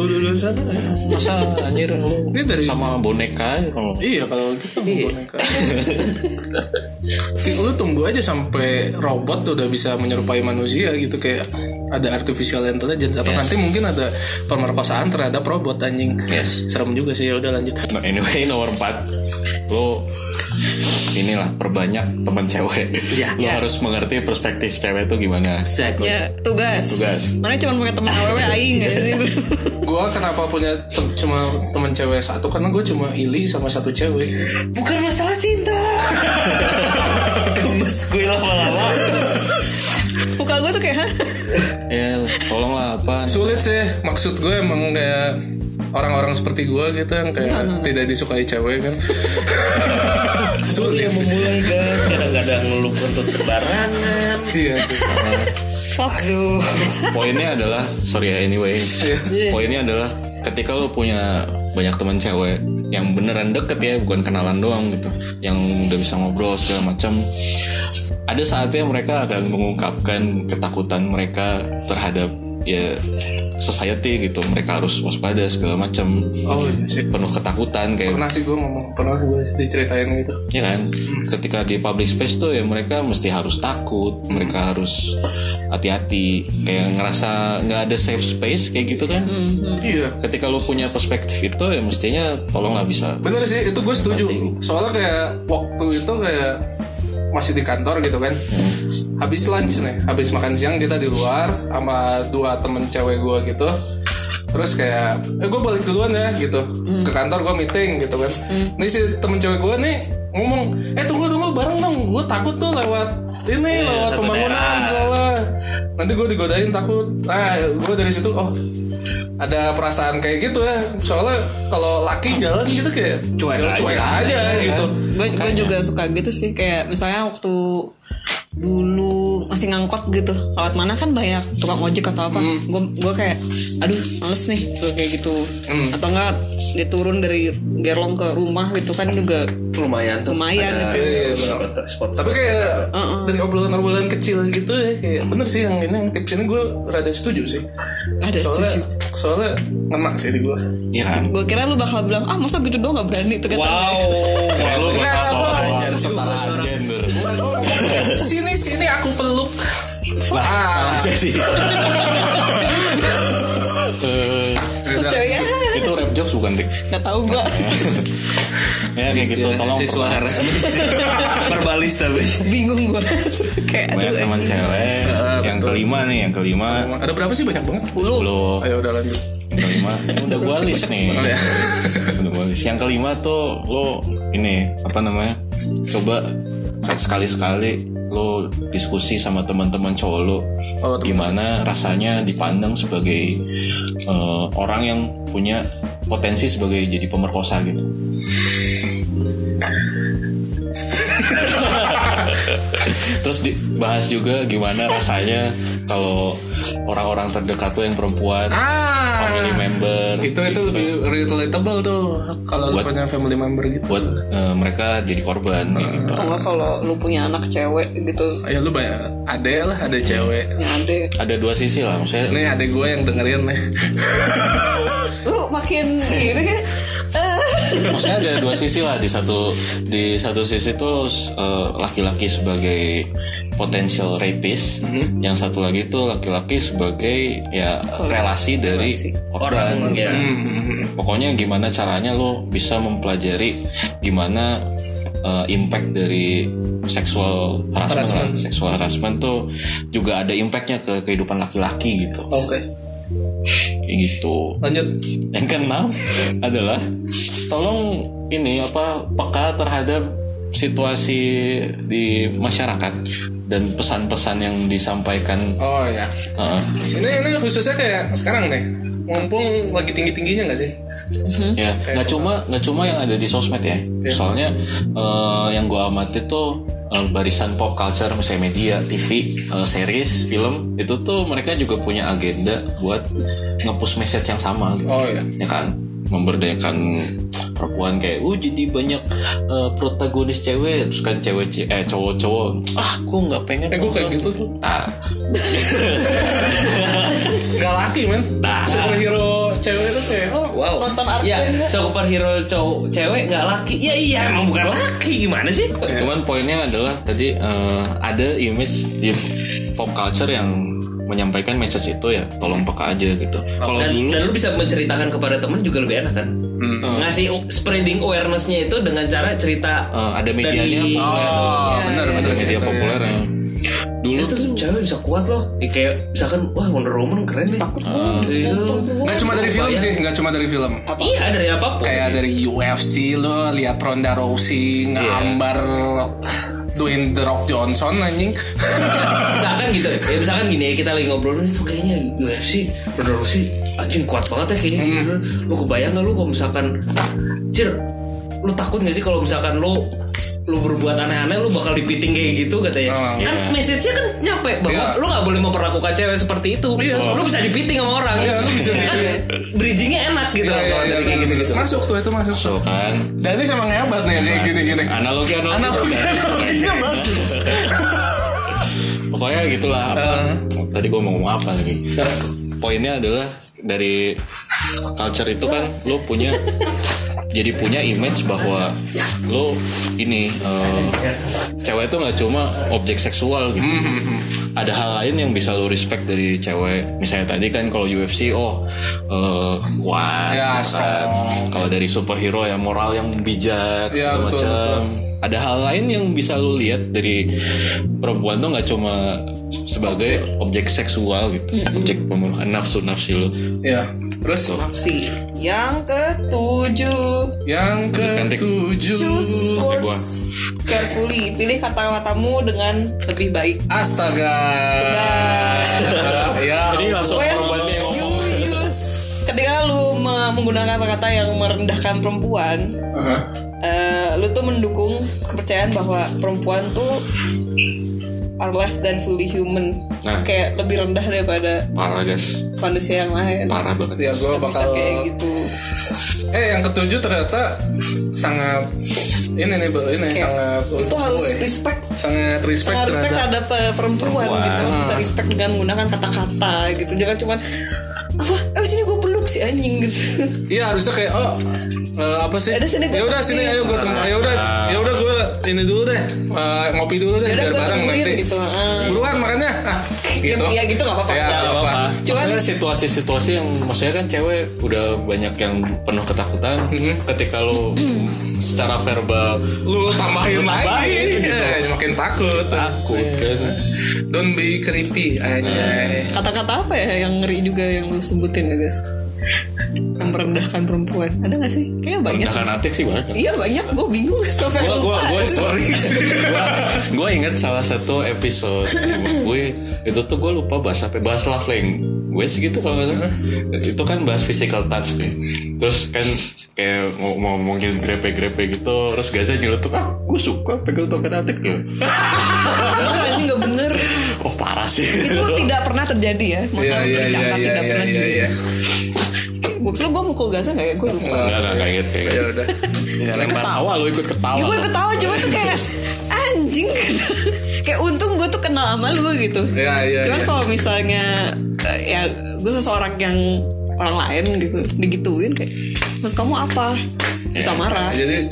S4: Masa anjir lu
S1: Ini dari-
S4: sama boneka aja kalau
S1: Iya kalau gitu sama boneka. Tapi lu tunggu aja sampai robot udah bisa menyerupai manusia gitu kayak ada artificial intelligence atau nanti mungkin ada pemerkosaan terhadap robot anjing.
S4: Yes.
S1: Serem juga sih ya udah lanjut.
S4: Nah, anyway nomor 4 Lo inilah perbanyak teman cewek Lo harus mengerti perspektif cewek itu gimana
S3: exactly
S2: Ya, tugas.
S4: Tugas.
S2: Mana cuma pakai teman awewe aing aja sih.
S1: Gua kenapa punya tem- cuma teman cewek satu karena gue cuma ili sama satu cewek.
S5: Bukan masalah cinta. Kembes gue lama-lama.
S2: Muka gue tuh kayak, hah?
S4: Ya tolonglah apa
S1: Sulit sih maksud gue emang kayak orang-orang seperti gue gitu yang kayak tidak disukai cewek kan. Sulit.
S5: Mulai guys.
S3: kadang-kadang lu kentut sembarangan
S1: Iya sih.
S2: Fuck.
S4: Poinnya adalah Sorry ya anyway Poinnya adalah ketika lo punya banyak teman cewek Yang beneran deket ya Bukan kenalan doang gitu Yang udah bisa ngobrol segala macam ada saatnya mereka akan mengungkapkan ketakutan mereka terhadap ya society gitu mereka harus waspada segala macam
S1: Oh iya sih.
S4: penuh ketakutan kayak
S1: pernah sih gue ngomong pernah gue diceritain gitu
S4: ya kan ketika di public space tuh ya mereka mesti harus takut mereka harus hati-hati kayak ngerasa nggak ada safe space kayak gitu kan
S1: iya
S4: ketika lu punya perspektif itu ya mestinya tolonglah bisa
S1: bener sih itu gue setuju soalnya kayak waktu itu kayak masih di kantor gitu kan habis lunch nih habis makan siang kita di luar sama dua temen cewek gue gitu terus kayak eh gue balik duluan ya gitu ke kantor gue meeting gitu kan ini si temen cewek gue nih ngomong eh tunggu tunggu bareng dong gue takut tuh lewat ini lewat
S3: satu
S1: pembangunan
S3: daerah.
S1: salah nanti gue digodain takut nah gue dari situ oh ada perasaan kayak gitu ya soalnya kalau laki jalan gitu kayak
S3: Cuek
S1: ya,
S3: aja.
S1: cuek aja, gitu
S2: Gue gue juga suka gitu sih kayak misalnya waktu dulu masih ngangkot gitu lewat mana kan banyak tukang ojek atau apa gue gue kayak aduh males nih gue kayak gitu atau enggak dia turun dari gerlong ke rumah gitu kan juga
S3: lumayan tuh
S2: Lumayan gitu. itu.
S1: Iya,
S3: spot
S1: tapi kayak dari obrolan-obrolan kecil gitu ya kayak bener sih yang ini yang tips ini gue rada setuju sih
S2: ada
S1: soalnya
S2: setuju
S1: soalnya ngenak sih di gue
S4: ya kan
S2: gue kira lu bakal bilang ah masa gitu doang gak berani ternyata
S4: Kayak lu
S1: Nggak,
S4: bakal
S1: apa-apa.
S4: bawa kesetaraan gender
S1: sini sini aku peluk ah,
S4: jadi Eh,
S2: Terus ceweknya "Ah,
S4: itu rap jokes bukan tik
S2: nggak tahu gue
S4: ya kayak
S1: Iya,
S4: gitu tolong
S3: siswa Erasmus berbalis tapi
S2: bingung gue kayak
S4: banyak
S2: aduh
S4: teman cewek yang kelima nih yang kelima
S1: ada berapa sih banyak banget
S4: sepuluh
S1: ayo udah lanjut
S4: yang kelima udah gua list nih
S1: Oh, ya.
S4: udah gua list yang kelima tuh lo ini apa namanya coba sekali sekali lo diskusi sama teman-teman cowok lo
S1: Oh, teman.
S4: gimana rasanya dipandang sebagai eh, orang yang punya potensi sebagai jadi pemerkosa gitu Terus dibahas juga gimana rasanya kalau orang-orang terdekat lo yang perempuan,
S1: ah
S4: family member,
S1: itu itu lebih relatable tuh kalau lu
S4: Buat-
S1: punya family member gitu
S4: buat eh, mereka jadi korban ya gitu.
S2: Atau enggak kalau lu punya anak cewek gitu
S1: ya lu banyak ada lah ada cewek
S2: yang ada
S4: Ada dua sisi lah, maksudnya
S1: ini ada gue yang dengerin nih
S2: lu makin ini Eh,
S4: maksudnya ada dua sisi lah di satu di satu sisi tuh eh, laki-laki sebagai potential rapist, yang satu lagi tuh laki-laki sebagai ya relasi dari korban. gitu. Pokoknya gimana caranya lo bisa mempelajari gimana uh, impact dari sexual harassment,
S1: Harassment.
S4: lah. Sexual harassment tuh juga ada impactnya ke kehidupan laki-laki gitu.
S1: oke
S4: Kayak gitu.
S1: lanjut
S4: Yang keenam adalah tolong ini apa peka terhadap situasi di masyarakat dan pesan-pesan yang disampaikan.
S1: oh ya
S4: Heeh.
S1: ini ini khususnya kayak sekarang nih mumpung lagi tinggi tingginya nggak sih
S4: Ya, nggak cuma nggak cuma yang ada di sosmed ya. Soalnya eh, yang gua amati tuh eh, barisan pop culture misalnya media, TV, eh, series, film itu tuh mereka juga punya agenda buat nge-push message yang sama gitu.
S1: oh ya
S4: ya kan memberdayakan perempuan kayak uh jadi banyak eh, protagonis cewek terus kan cewek ce- eh cowok-cowok ah gue nggak pengen
S1: Eh, gue kayak
S4: nonton."
S1: gitu tuh.
S4: Ah,
S1: Gak laki men Superhero cewek itu kayak oh,
S3: Wow.
S2: Nonton Arcane
S3: ya,
S2: nggak?
S3: superhero cowok cewek nggak laki. Ya iya emang bukan laki gimana sih?
S1: Iya.
S4: Cuman poinnya adalah tadi eh, ada image di pop culture yang menyampaikan message itu ya tolong peka aja gitu. Kalau
S3: Dan,
S4: dulu
S3: dan lu bisa menceritakan kepada temen juga lebih enak kan? Ngasih o- spreading awarenessnya itu dengan cara cerita
S4: eh, ada medianya
S3: dari
S1: Oh bener
S4: ada
S1: bener
S4: media populer yang dulu
S3: itu
S4: tuh
S3: tuh cewek bisa kuat loh. Ya, kayak misalkan wah Wonder Woman keren nih.
S2: Takut gue
S3: Itu.
S1: Gak cuma dari film sih Gak cuma dari film
S3: Iya dari apapun.
S1: Kayak dari UFC lo lihat Ronda Rousey ngambar Dwayne The Rock Johnson anjing
S3: misalkan gitu ya misalkan gini ya kita lagi ngobrol itu kayaknya UFC bener sih anjing kuat banget ya
S1: Hmm.
S3: kayaknya lu kebayang gak lu kalau misalkan cir lu takut gak sih kalau misalkan lu lu berbuat aneh-aneh lu bakal dipiting kayak gitu katanya
S1: Oh,
S3: kan message-nya kan nyampe bahwa
S1: Iya.
S3: lu gak boleh memperlakukan cewek seperti itu lu bisa dipiting sama orang
S1: Iya,
S3: kan bridgingnya enak gitu loh kalau dari kayak gitu-gitu
S1: Masuk tuh itu masuk
S4: so kan
S1: iya, Dan ini sama ngebat Iya, nih kayak gini-gini
S4: analogi analogi,
S1: Analoginya bagus
S4: pokoknya gitulah apa tadi gue mau ngomong apa lagi poinnya adalah dari culture itu kan lo punya jadi punya image bahwa lo ini eh, cewek itu nggak cuma objek seksual gitu ada hal lain yang bisa lo respect dari cewek misalnya tadi kan kalau UFC oh eh, kuat
S1: Ya,
S4: gitu kan. kalau dari superhero ya moral yang bijak
S1: Ya, betul,
S4: segala macam
S1: betul.
S4: ada hal lain yang bisa lu lihat dari perempuan tuh nggak cuma sebagai objek seksual gitu objek pemenuhan nafsu nafsi lu
S1: Ya Terus
S2: sih. Yang ketujuh.
S1: yang
S4: Cantik.
S1: ketujuh
S2: Choose
S4: Sampai gua.
S2: words carefully. Pilih kata-katamu dengan lebih baik.
S1: Astaga Ya
S4: jadi langsung
S2: When
S4: korbannya yang
S2: you
S4: ngomong
S2: use ketika lu me- menggunakan kata-kata yang merendahkan perempuan,
S1: Aha.
S2: eh, lu tuh mendukung kepercayaan bahwa perempuan tuh are less than fully human.
S4: Nah.
S2: Kayak lebih rendah daripada
S4: parah guys
S2: manusia yang lain.
S4: parah banget
S1: Ya gue
S2: Bisa
S1: bakal
S2: kayak gitu.
S1: Eh yang ketujuh ternyata sangat ini nih Bu, ini sangat
S2: Iya. Itu harus
S1: gue,
S2: respect
S1: sangat respect
S2: harus respect
S1: terhadap
S2: terhadap eh, perempuan, gitu Lu bisa respect dengan menggunakan kata-kata gitu jangan cuman apa eh sini gue peluk si anjing gitu
S1: Iya harusnya kayak oh eh, apa sih?
S2: Yaudah, sini gua
S1: ya udah
S2: temenin.
S1: sini ayo gue temen. Ya udah ya udah gue ini dulu deh eh, ngopi dulu deh
S2: Yaudah,
S1: biar
S2: gua
S1: bareng
S2: tungguin,
S1: nanti.
S2: gitu, ah.
S1: Buruan makannya. Ah, gitu.
S2: ya gitu nggak apa-apa
S1: Ya, nggak apa-apa.
S2: Cuman-
S4: Maksudnya situasi-situasi yang maksudnya kan cewek udah banyak yang penuh ketakutan ketika lu secara verbal
S1: Lu tambahin
S4: Lu
S1: lagi.
S4: tambahin, gitu.
S1: Eh, makin takut.
S4: takut kan
S1: Don't be creepy. Anjay.
S2: kata-kata apa ya yang ngeri juga yang lu sebutin ya guys yang merendahkan perempuan ada nggak sih kayaknya banyak
S4: Rendahan hati sih banyak
S2: iya banyak gue bingung sampai
S4: gua gua
S2: lupa
S4: gua sorry gua gua inget salah satu episode gue itu tuh gue lupa bahas apa bahas love language gitu kalau nggak salah itu kan bahas physical touch nih terus kan kayak mau mau ngomongin grepe grepe gitu terus Gaza nyeletuk ah gue suka pegang tongkat atik ya
S2: Bener, anjing nggak bener
S4: oh parah sih
S2: itu tidak pernah terjadi ya maka
S1: Iya iya iya
S2: bercakap
S1: iya
S2: tidak
S1: iya
S2: pernah
S1: iya.
S2: di
S1: iya.
S2: gue gue mukul gaza nggak ya gue lupa
S4: nggak nggak nggak inget kayak
S1: Ya udah.
S4: ketawa lo ikut ketawa
S2: Ya gue ketawa cuma tuh kayak anjing kayak untung gue tuh kenal sama lu gitu.
S1: Iya iya.
S2: Cuman
S1: iya.
S2: kalau misalnya eh, ya gue seseorang yang orang lain gitu digituin kayak terus kamu apa bisa
S1: Ah,
S2: marah
S1: Jadi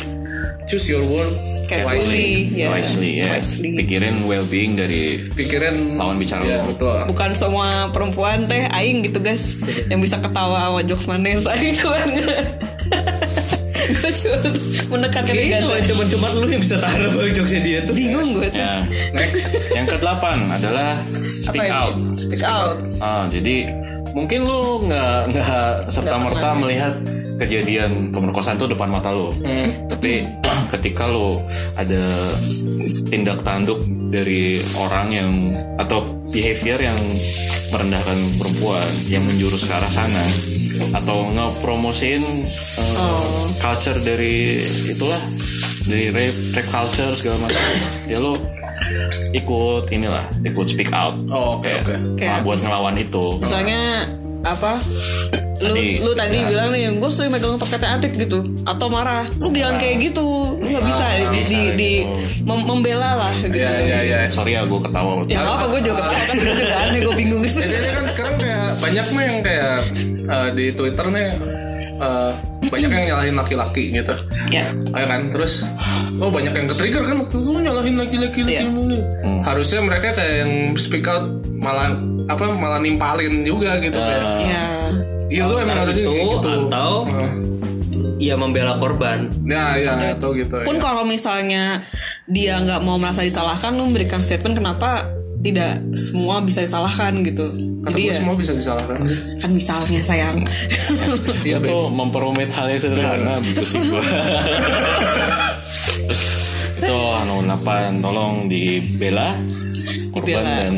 S1: choose your word
S2: kayak
S1: Ya, wisely.
S2: wisely ya
S4: wisely ya
S2: Wisely.
S4: pikirin well being dari
S1: Pikirin
S4: Lawan bicara
S1: Iya,
S4: lu.
S1: betul.
S2: bukan semua perempuan teh aing gitu guys yang bisa ketawa sama jokes manis aing cuman gue cuma menekan diri
S3: Kayaknya kalau
S2: Gaza.
S3: cuma-cuma lu yang bisa tahan sama jokesnya dia tuh
S2: bingung gue tuh
S4: ya
S1: Next.
S4: yang kedelapan adalah
S2: Apa ya?
S4: speak
S2: ini?
S4: out
S2: speak out
S4: Ah, jadi mungkin lu nggak nggak serta merta melihat kejadian pemerkosaan tuh depan mata lu. Tapi ketika lu ada tindak tanduk dari orang yang atau behavior yang merendahkan perempuan yang menjurus ke arah sana atau ngepromosin eh, culture dari itulah dari rape, rape culture segala macam ya lu ikut inilah ikut speak out
S1: Oh, oke oke.
S4: Nah,
S2: Kayak
S4: buat ngelawan itu
S2: misalnya apa lu
S4: Tadi,
S2: lu tadi bilang nih gue sering megang toketnya atik gitu atau marah lu bilang kayak gitu lu nggak bisa gitu. di, di, di- mem- membela lah gitu
S1: Iya iya iya.
S4: sorry ya gue ketawa
S2: ya nggak apa gue juga ketawa kan gue juga aneh gue bingung gitu
S1: Jadi ini kan sekarang kayak banyak nih yang kayak eh, di Twitter nih eh, banyak yang nyalahin laki-laki gitu.
S2: ya
S1: Ayo kan terus oh banyak yang ketrigger kan waktu itu nyalahin laki-laki laki
S2: Iya.
S1: mulu. Harusnya mereka kayak yang speak out malah apa malah nimpalin juga gitu kayak.
S2: ya
S1: Iya lu emang
S3: Antara
S1: harusnya
S3: itu
S1: kayak gitu.
S3: atau
S1: Eh,
S3: ya membela korban
S1: ya ya atau gitu.
S2: pun
S1: ya.
S2: kalau misalnya dia nggak mau merasa disalahkan lu memberikan statement kenapa tidak semua bisa disalahkan gitu
S1: Kata
S2: jadi
S1: gua
S2: ya
S1: semua bisa disalahkan.
S2: kan misalnya sayang
S1: Iya,
S4: itu memperumit hal yang sederhana gitu sih gua itu anu napan tolong dibela korban
S2: Dibela.
S4: dan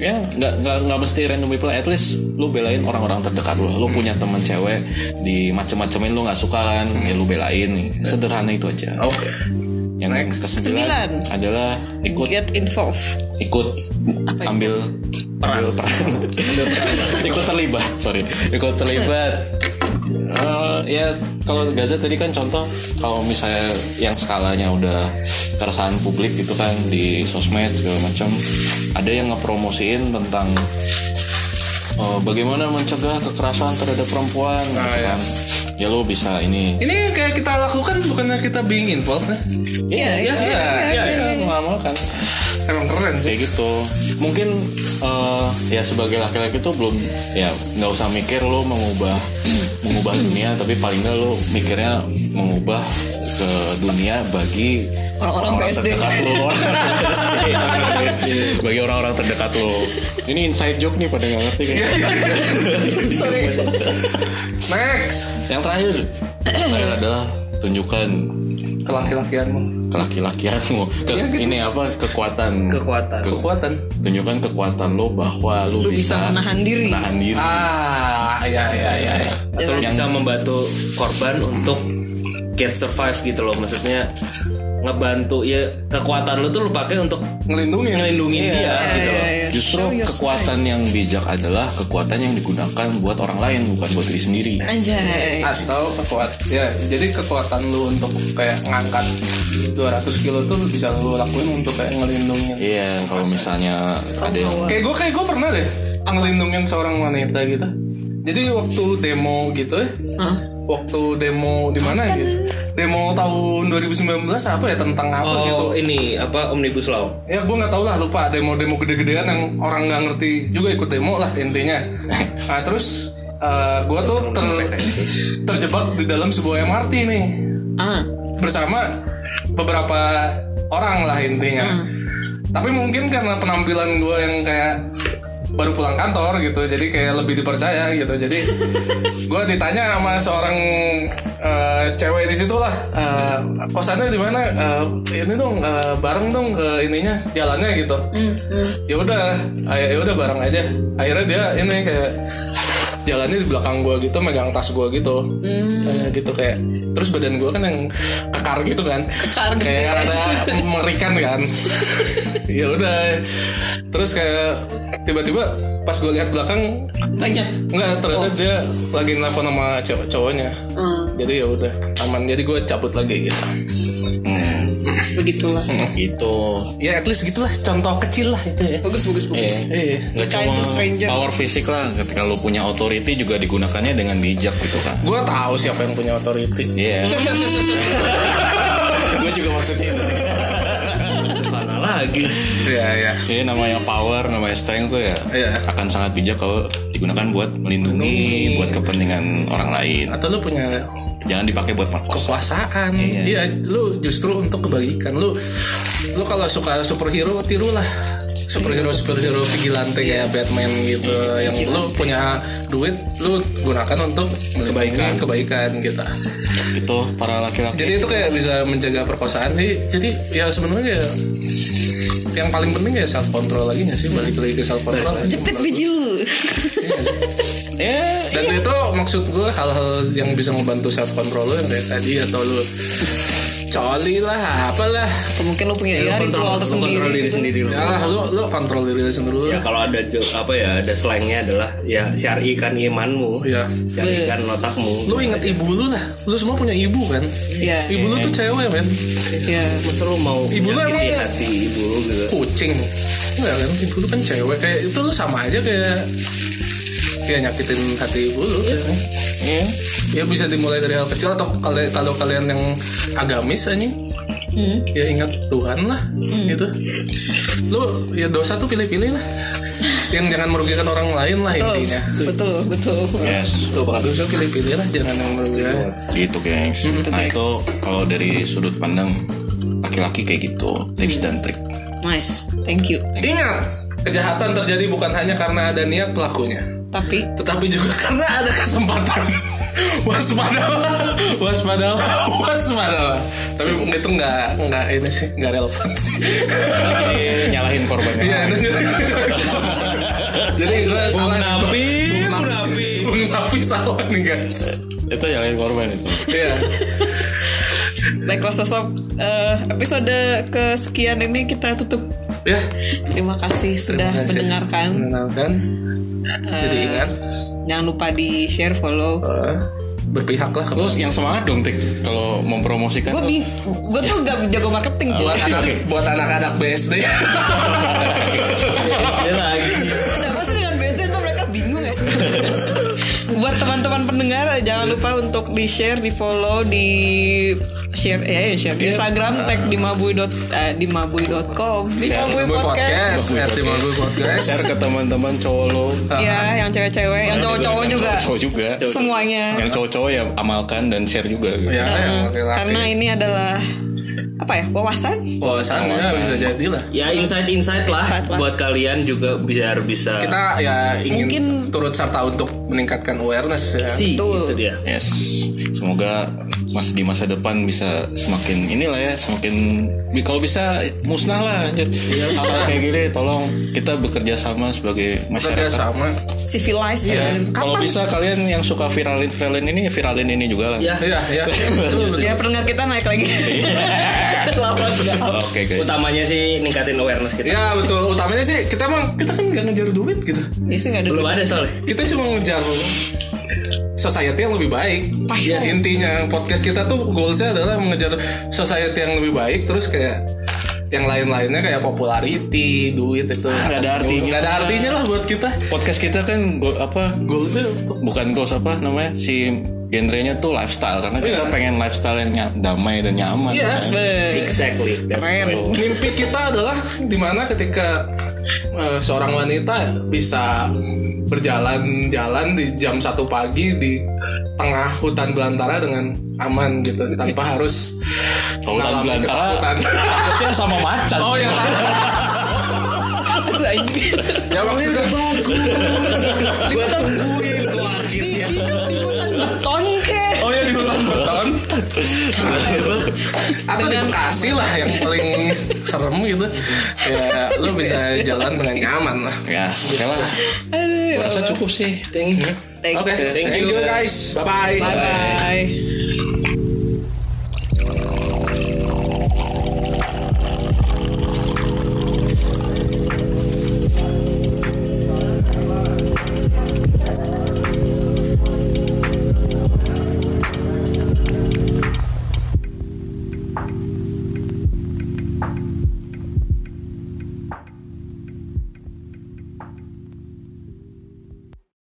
S4: ya nggak nggak nggak mesti random people at least lu belain orang-orang terdekat lu lu punya teman cewek di macem-macemin lu nggak suka kan ya lu belain sederhana itu aja
S1: Oke.
S4: yang
S1: next.
S4: kesembilan
S2: Sembilan.
S4: adalah ikut
S2: get involved
S4: ikut ambil peran, peran. ikut terlibat sorry ikut terlibat Eh, ya kalau Gaza tadi kan contoh kalau misalnya yang skalanya udah keresahan publik gitu kan di sosmed segala macam ada yang ngepromosiin tentang eh, bagaimana mencegah kekerasan terhadap perempuan gitu
S1: Ah, iya.
S4: kan. ya lo bisa ini
S1: Ini yang kayak kita lakukan bukannya kita being involved ya?
S4: iya iya
S1: iya,
S4: iya mengamalkan
S1: Emang keren sih.
S4: kayak gitu mungkin eh, ya sebagai laki-laki tuh belum ya nggak usah mikir lo mengubah mengubah dunia tapi paling nggak lo mikirnya mengubah ke dunia bagi
S2: Orang-orang PSD.
S4: terdekat lo Orang-orang PSD. bagi orang-orang terdekat lo ini inside joke nih pada nggak ngerti kan? kayaknya
S1: Next.
S4: yang terakhir yang terakhir adalah tunjukkan
S1: Ke laki-lakianmu.
S4: kelaki-lakianmu Ke- ini apa kekuatan
S3: Kekuatan.
S4: Ke-
S1: Kekuatan.
S4: tunjukkan kekuatan lo bahwa lo,
S2: Lu bisa menahan diri.
S4: menahan diri.
S1: Ah, ya ya ya. ya.
S3: atau lu
S4: Yang-
S3: bisa membantu korban untuk get survive gitu loh maksudnya ngebantu ya kekuatan lu tuh lu pakai untuk
S1: Ngelindungi.
S3: ngelindungi dia gitu loh.
S4: ya, Justru kekuatan yang bijak adalah kekuatan yang digunakan buat orang lain bukan buat diri sendiri.
S2: anjay
S1: atau kekuat ya jadi kekuatan lu untuk kayak ngangkat 200 kilo tuh bisa lu lakuin untuk kayak ngelindungin
S4: Iya, kalau misalnya ada yang
S1: kayak gue kayak gue pernah deh ngelindungin seorang wanita gitu jadi waktu demo gitu ya
S2: Hah?
S1: waktu demo di mana gitu demo tahun 2019 apa ya tentang apa gitu
S3: oh ini apa omnibus law
S1: ya gue nggak tahu lah lupa demo-demo gede-gedean yang orang nggak ngerti juga ikut demo lah intinya nah terus gue tuh ter- terjebak di dalam sebuah MRT nih
S2: ah
S1: bersama beberapa orang lah intinya. Tapi mungkin karena penampilan gue yang kayak baru pulang kantor gitu, jadi kayak lebih dipercaya gitu. Jadi gue ditanya sama seorang eh, cewek di situ lah, eh, kosannya di mana? Eh, ini dong eh, bareng dong ke ininya jalannya gitu. Ya udah, ay- ya udah bareng aja. Akhirnya dia ini kayak jalannya di belakang gue gitu, megang tas gue gitu. Eh,
S2: Hmm.
S1: gitu kayak terus badan gue kan yang kekar gitu kan
S2: Kekar gitu.
S1: kayak rada mengerikan kan ya udah terus kayak tiba-tiba pas gue lihat belakang
S2: banyak
S1: nggak ternyata
S2: Oh.
S1: dia lagi nelfon sama cowok cowoknya
S2: Hmm,
S1: jadi ya udah aman jadi gue cabut lagi gitu
S2: begitulah
S4: Hmm. itu
S1: ya at least gitulah contoh kecil lah itu ya
S2: bagus bagus bagus
S1: iya
S4: nggak
S2: Kayak
S4: cuma
S2: itu stranger.
S4: power fisik lah, ketika lo punya authority juga digunakannya dengan bijak gitu kan.
S1: gue tahu siapa yang punya otoriti
S4: Iya. Gue juga maksudnya itu.
S3: mana lagi
S1: iya iya
S4: Iya namanya power, namanya strength tuh ya
S1: Iya.
S4: akan sangat bijak kalau digunakan buat melindungi, buat kepentingan orang lain.
S1: atau lu punya
S4: Jangan dipakai buat perkosa.
S1: kekuasaan iya lu justru untuk kebajikan lu lu kalau suka superhero tirulah superhero superhero vigilante kayak Batman gitu yang lu punya duit lu gunakan untuk kebaikan kebaikan gitu
S4: Itu gitu, para laki-laki.
S1: jadi itu kayak bisa mencegah perkosaan sih jadi ya sebenarnya ya, yang paling penting ya self control lagi nggak sih balik lagi ke self control
S2: jepit biji lu
S4: Eh,
S1: dan
S2: Iya.
S1: itu maksud gue hal-hal yang bisa membantu self control lo yang kayak tadi atau lu coli lah apalah
S2: Atau mungkin lu punya
S3: Lu
S2: ya, ritual
S3: kontrol, lu kontrol
S2: tersendiri.
S3: diri Iya, sendiri lu.
S1: ya lah lu lu kontrol diri lu sendiri
S2: Iya,
S1: dulu
S3: Ya
S1: lah.
S3: kalau ada jo- apa ya ada slangnya adalah ya syarikan imanmu,
S1: Iya.
S3: syarikan otakmu.
S1: lu inget ibu lu lah lu semua punya ibu kan
S2: Iya,
S1: ibu lu tuh cewek men
S2: iya.
S3: Masa lu mau
S1: Ibu lu
S3: menyakiti
S1: emang- ya?
S3: hati ibu lu gitu.
S1: kucing enggak kan ibu lu kan cewek kayak itu lu sama aja kayak kayak nyakitin hati ibu lu kan.
S4: Iya.
S1: ya bisa dimulai dari hal kecil atau kalau kalau kalian yang agamis anjing
S2: Hmm,
S1: ya ingat Tuhan lah gitu lu ya dosa tuh pilih-pilih lah yang jangan merugikan orang lain lah intinya
S2: Betul, betul.
S4: Yes.
S1: tuh bakal dosa pilih-pilih lah jangan yang merugikan
S4: Gitu, gengs. Nah, itu kalau dari sudut pandang laki-laki kayak gitu, tips dan trik.
S2: Nice, thank you.
S1: ingat kejahatan terjadi bukan hanya karena ada niat pelakunya
S2: Tapi
S1: tetapi juga karena ada kesempatan waspadalah waspadalah waspadalah tapi itu nggak nggak ini sih nggak relevan sih
S4: Jadi nyalahin korbannya.
S1: Iya, itu jadi gue salah nih.
S4: Napi,
S1: Bung Napi Bung Napi salah nih guys
S4: Itu nyalahin korban itu.
S1: Iya
S2: baiklah sosok eh, episode kesekian ini kita tutup.
S1: ya
S2: Terima kasih sudah
S1: kasih.
S2: mendengarkan.
S1: mengenalkan jadi
S2: Eh,
S1: ingat
S2: Jangan lupa di share, follow.
S1: eh, berpihaklah ke
S4: Terus yang semangat dong, Tik. Kalau mempromosikan
S2: Gue
S4: tuh.
S2: bing, gue tuh gak jago marketing
S1: buat
S2: juga.
S1: anak buat anak-anak BSD
S2: Kenapa sih dengan BZ tuh mereka bingung ya? Buat teman-teman pendengar jangan
S4: Iya.
S2: lupa untuk di share, di follow, di share ya, ya, share
S4: Iya.
S2: di Instagram tag di mabui dot eh, di mabui.com di
S4: Nah. Share
S2: mabui
S1: Mabui podcast
S2: podcast.
S1: at Mabui podcast
S4: Share ke teman-teman cowok lo.
S2: Ya, yang cewek-cewek, yang cowok-cowok
S4: Yang
S2: juga
S4: Cowok juga.
S2: semuanya. Nah,
S4: Yang cowok-cowok ya amalkan dan share juga. gitu.
S1: ya yang laki-laki
S2: Uh-uh. Karena ini adalah apa ya? Wawasan.
S1: Wawasan ya bisa jadi lah
S3: Ya insight-insight lah
S2: Insight lah.
S3: buat kalian juga biar bisa
S1: kita ya ingin
S2: Mungkin-
S1: turut serta untuk meningkatkan awareness ya.
S3: si
S2: Betul.
S3: gitu dia.
S4: Yes. Semoga mas di masa depan bisa semakin inilah ya, semakin bi- kalau bisa musnah lah. anjir.
S1: Iya.
S4: Hal-hal kayak gini tolong kita bekerja sama sebagai
S1: Kita kayak
S4: masyarakat.
S1: sama.
S2: Civilized.
S4: Ya, kalau bisa kalian yang suka viralin viralin ini viralin ini juga lah.
S3: Ya,
S1: Iya, ya.
S4: gitu
S2: Ya pendengar kita naik lagi.
S4: Iya.
S2: Udah lama banget.
S4: Oke guys.
S3: utamanya sih ningkatin awareness
S2: Iya.
S3: kita.
S1: Ya betul. Utamanya sih kita emang kita kan nggak ngejar duit gitu.
S2: Ya sih nggak ada
S3: Belum ada soalnya.
S1: Kita cuma ngejar society yang lebih baik. Ya,
S2: Passion.
S1: intinya podcast kita tuh goalsnya adalah mengejar society yang lebih baik. Terus kayak yang lain-lainnya kayak popularity, duit itu.
S4: Nggak ada artinya.
S1: Nggak ada artinya lah buat kita.
S4: Podcast kita kan go- apa
S1: Goalsnya ya, untuk
S4: bukan goals apa namanya si genrenya tuh lifestyle karena kita pengen lifestyle yang nya- damai dan nyaman.
S1: Iya.
S2: Be-
S3: Exactly.
S2: Keren.
S1: mimpi kita adalah dimana ketika eh, seorang wanita bisa berjalan-jalan di jam satu pagi di tengah hutan belantara dengan aman gitu tanpa harus
S4: Kalau hutan
S1: mengalami
S4: belantara,
S1: ketakutan.
S4: Takutnya sama macan.
S1: oh yang ya maksudnya
S3: Gue tungguin tuh
S4: Iya.
S3: akhirnya.
S2: Beton kek.
S1: oh ya di hutan beton atau di Bekasi lah yang paling serem gitu ya lo bisa jalan dengan nyaman lah
S4: Ya, oke lah. Gua rasa cukup sih.
S3: Iya. Thank you.
S1: oke thank you guys bye bye
S2: Bye bye.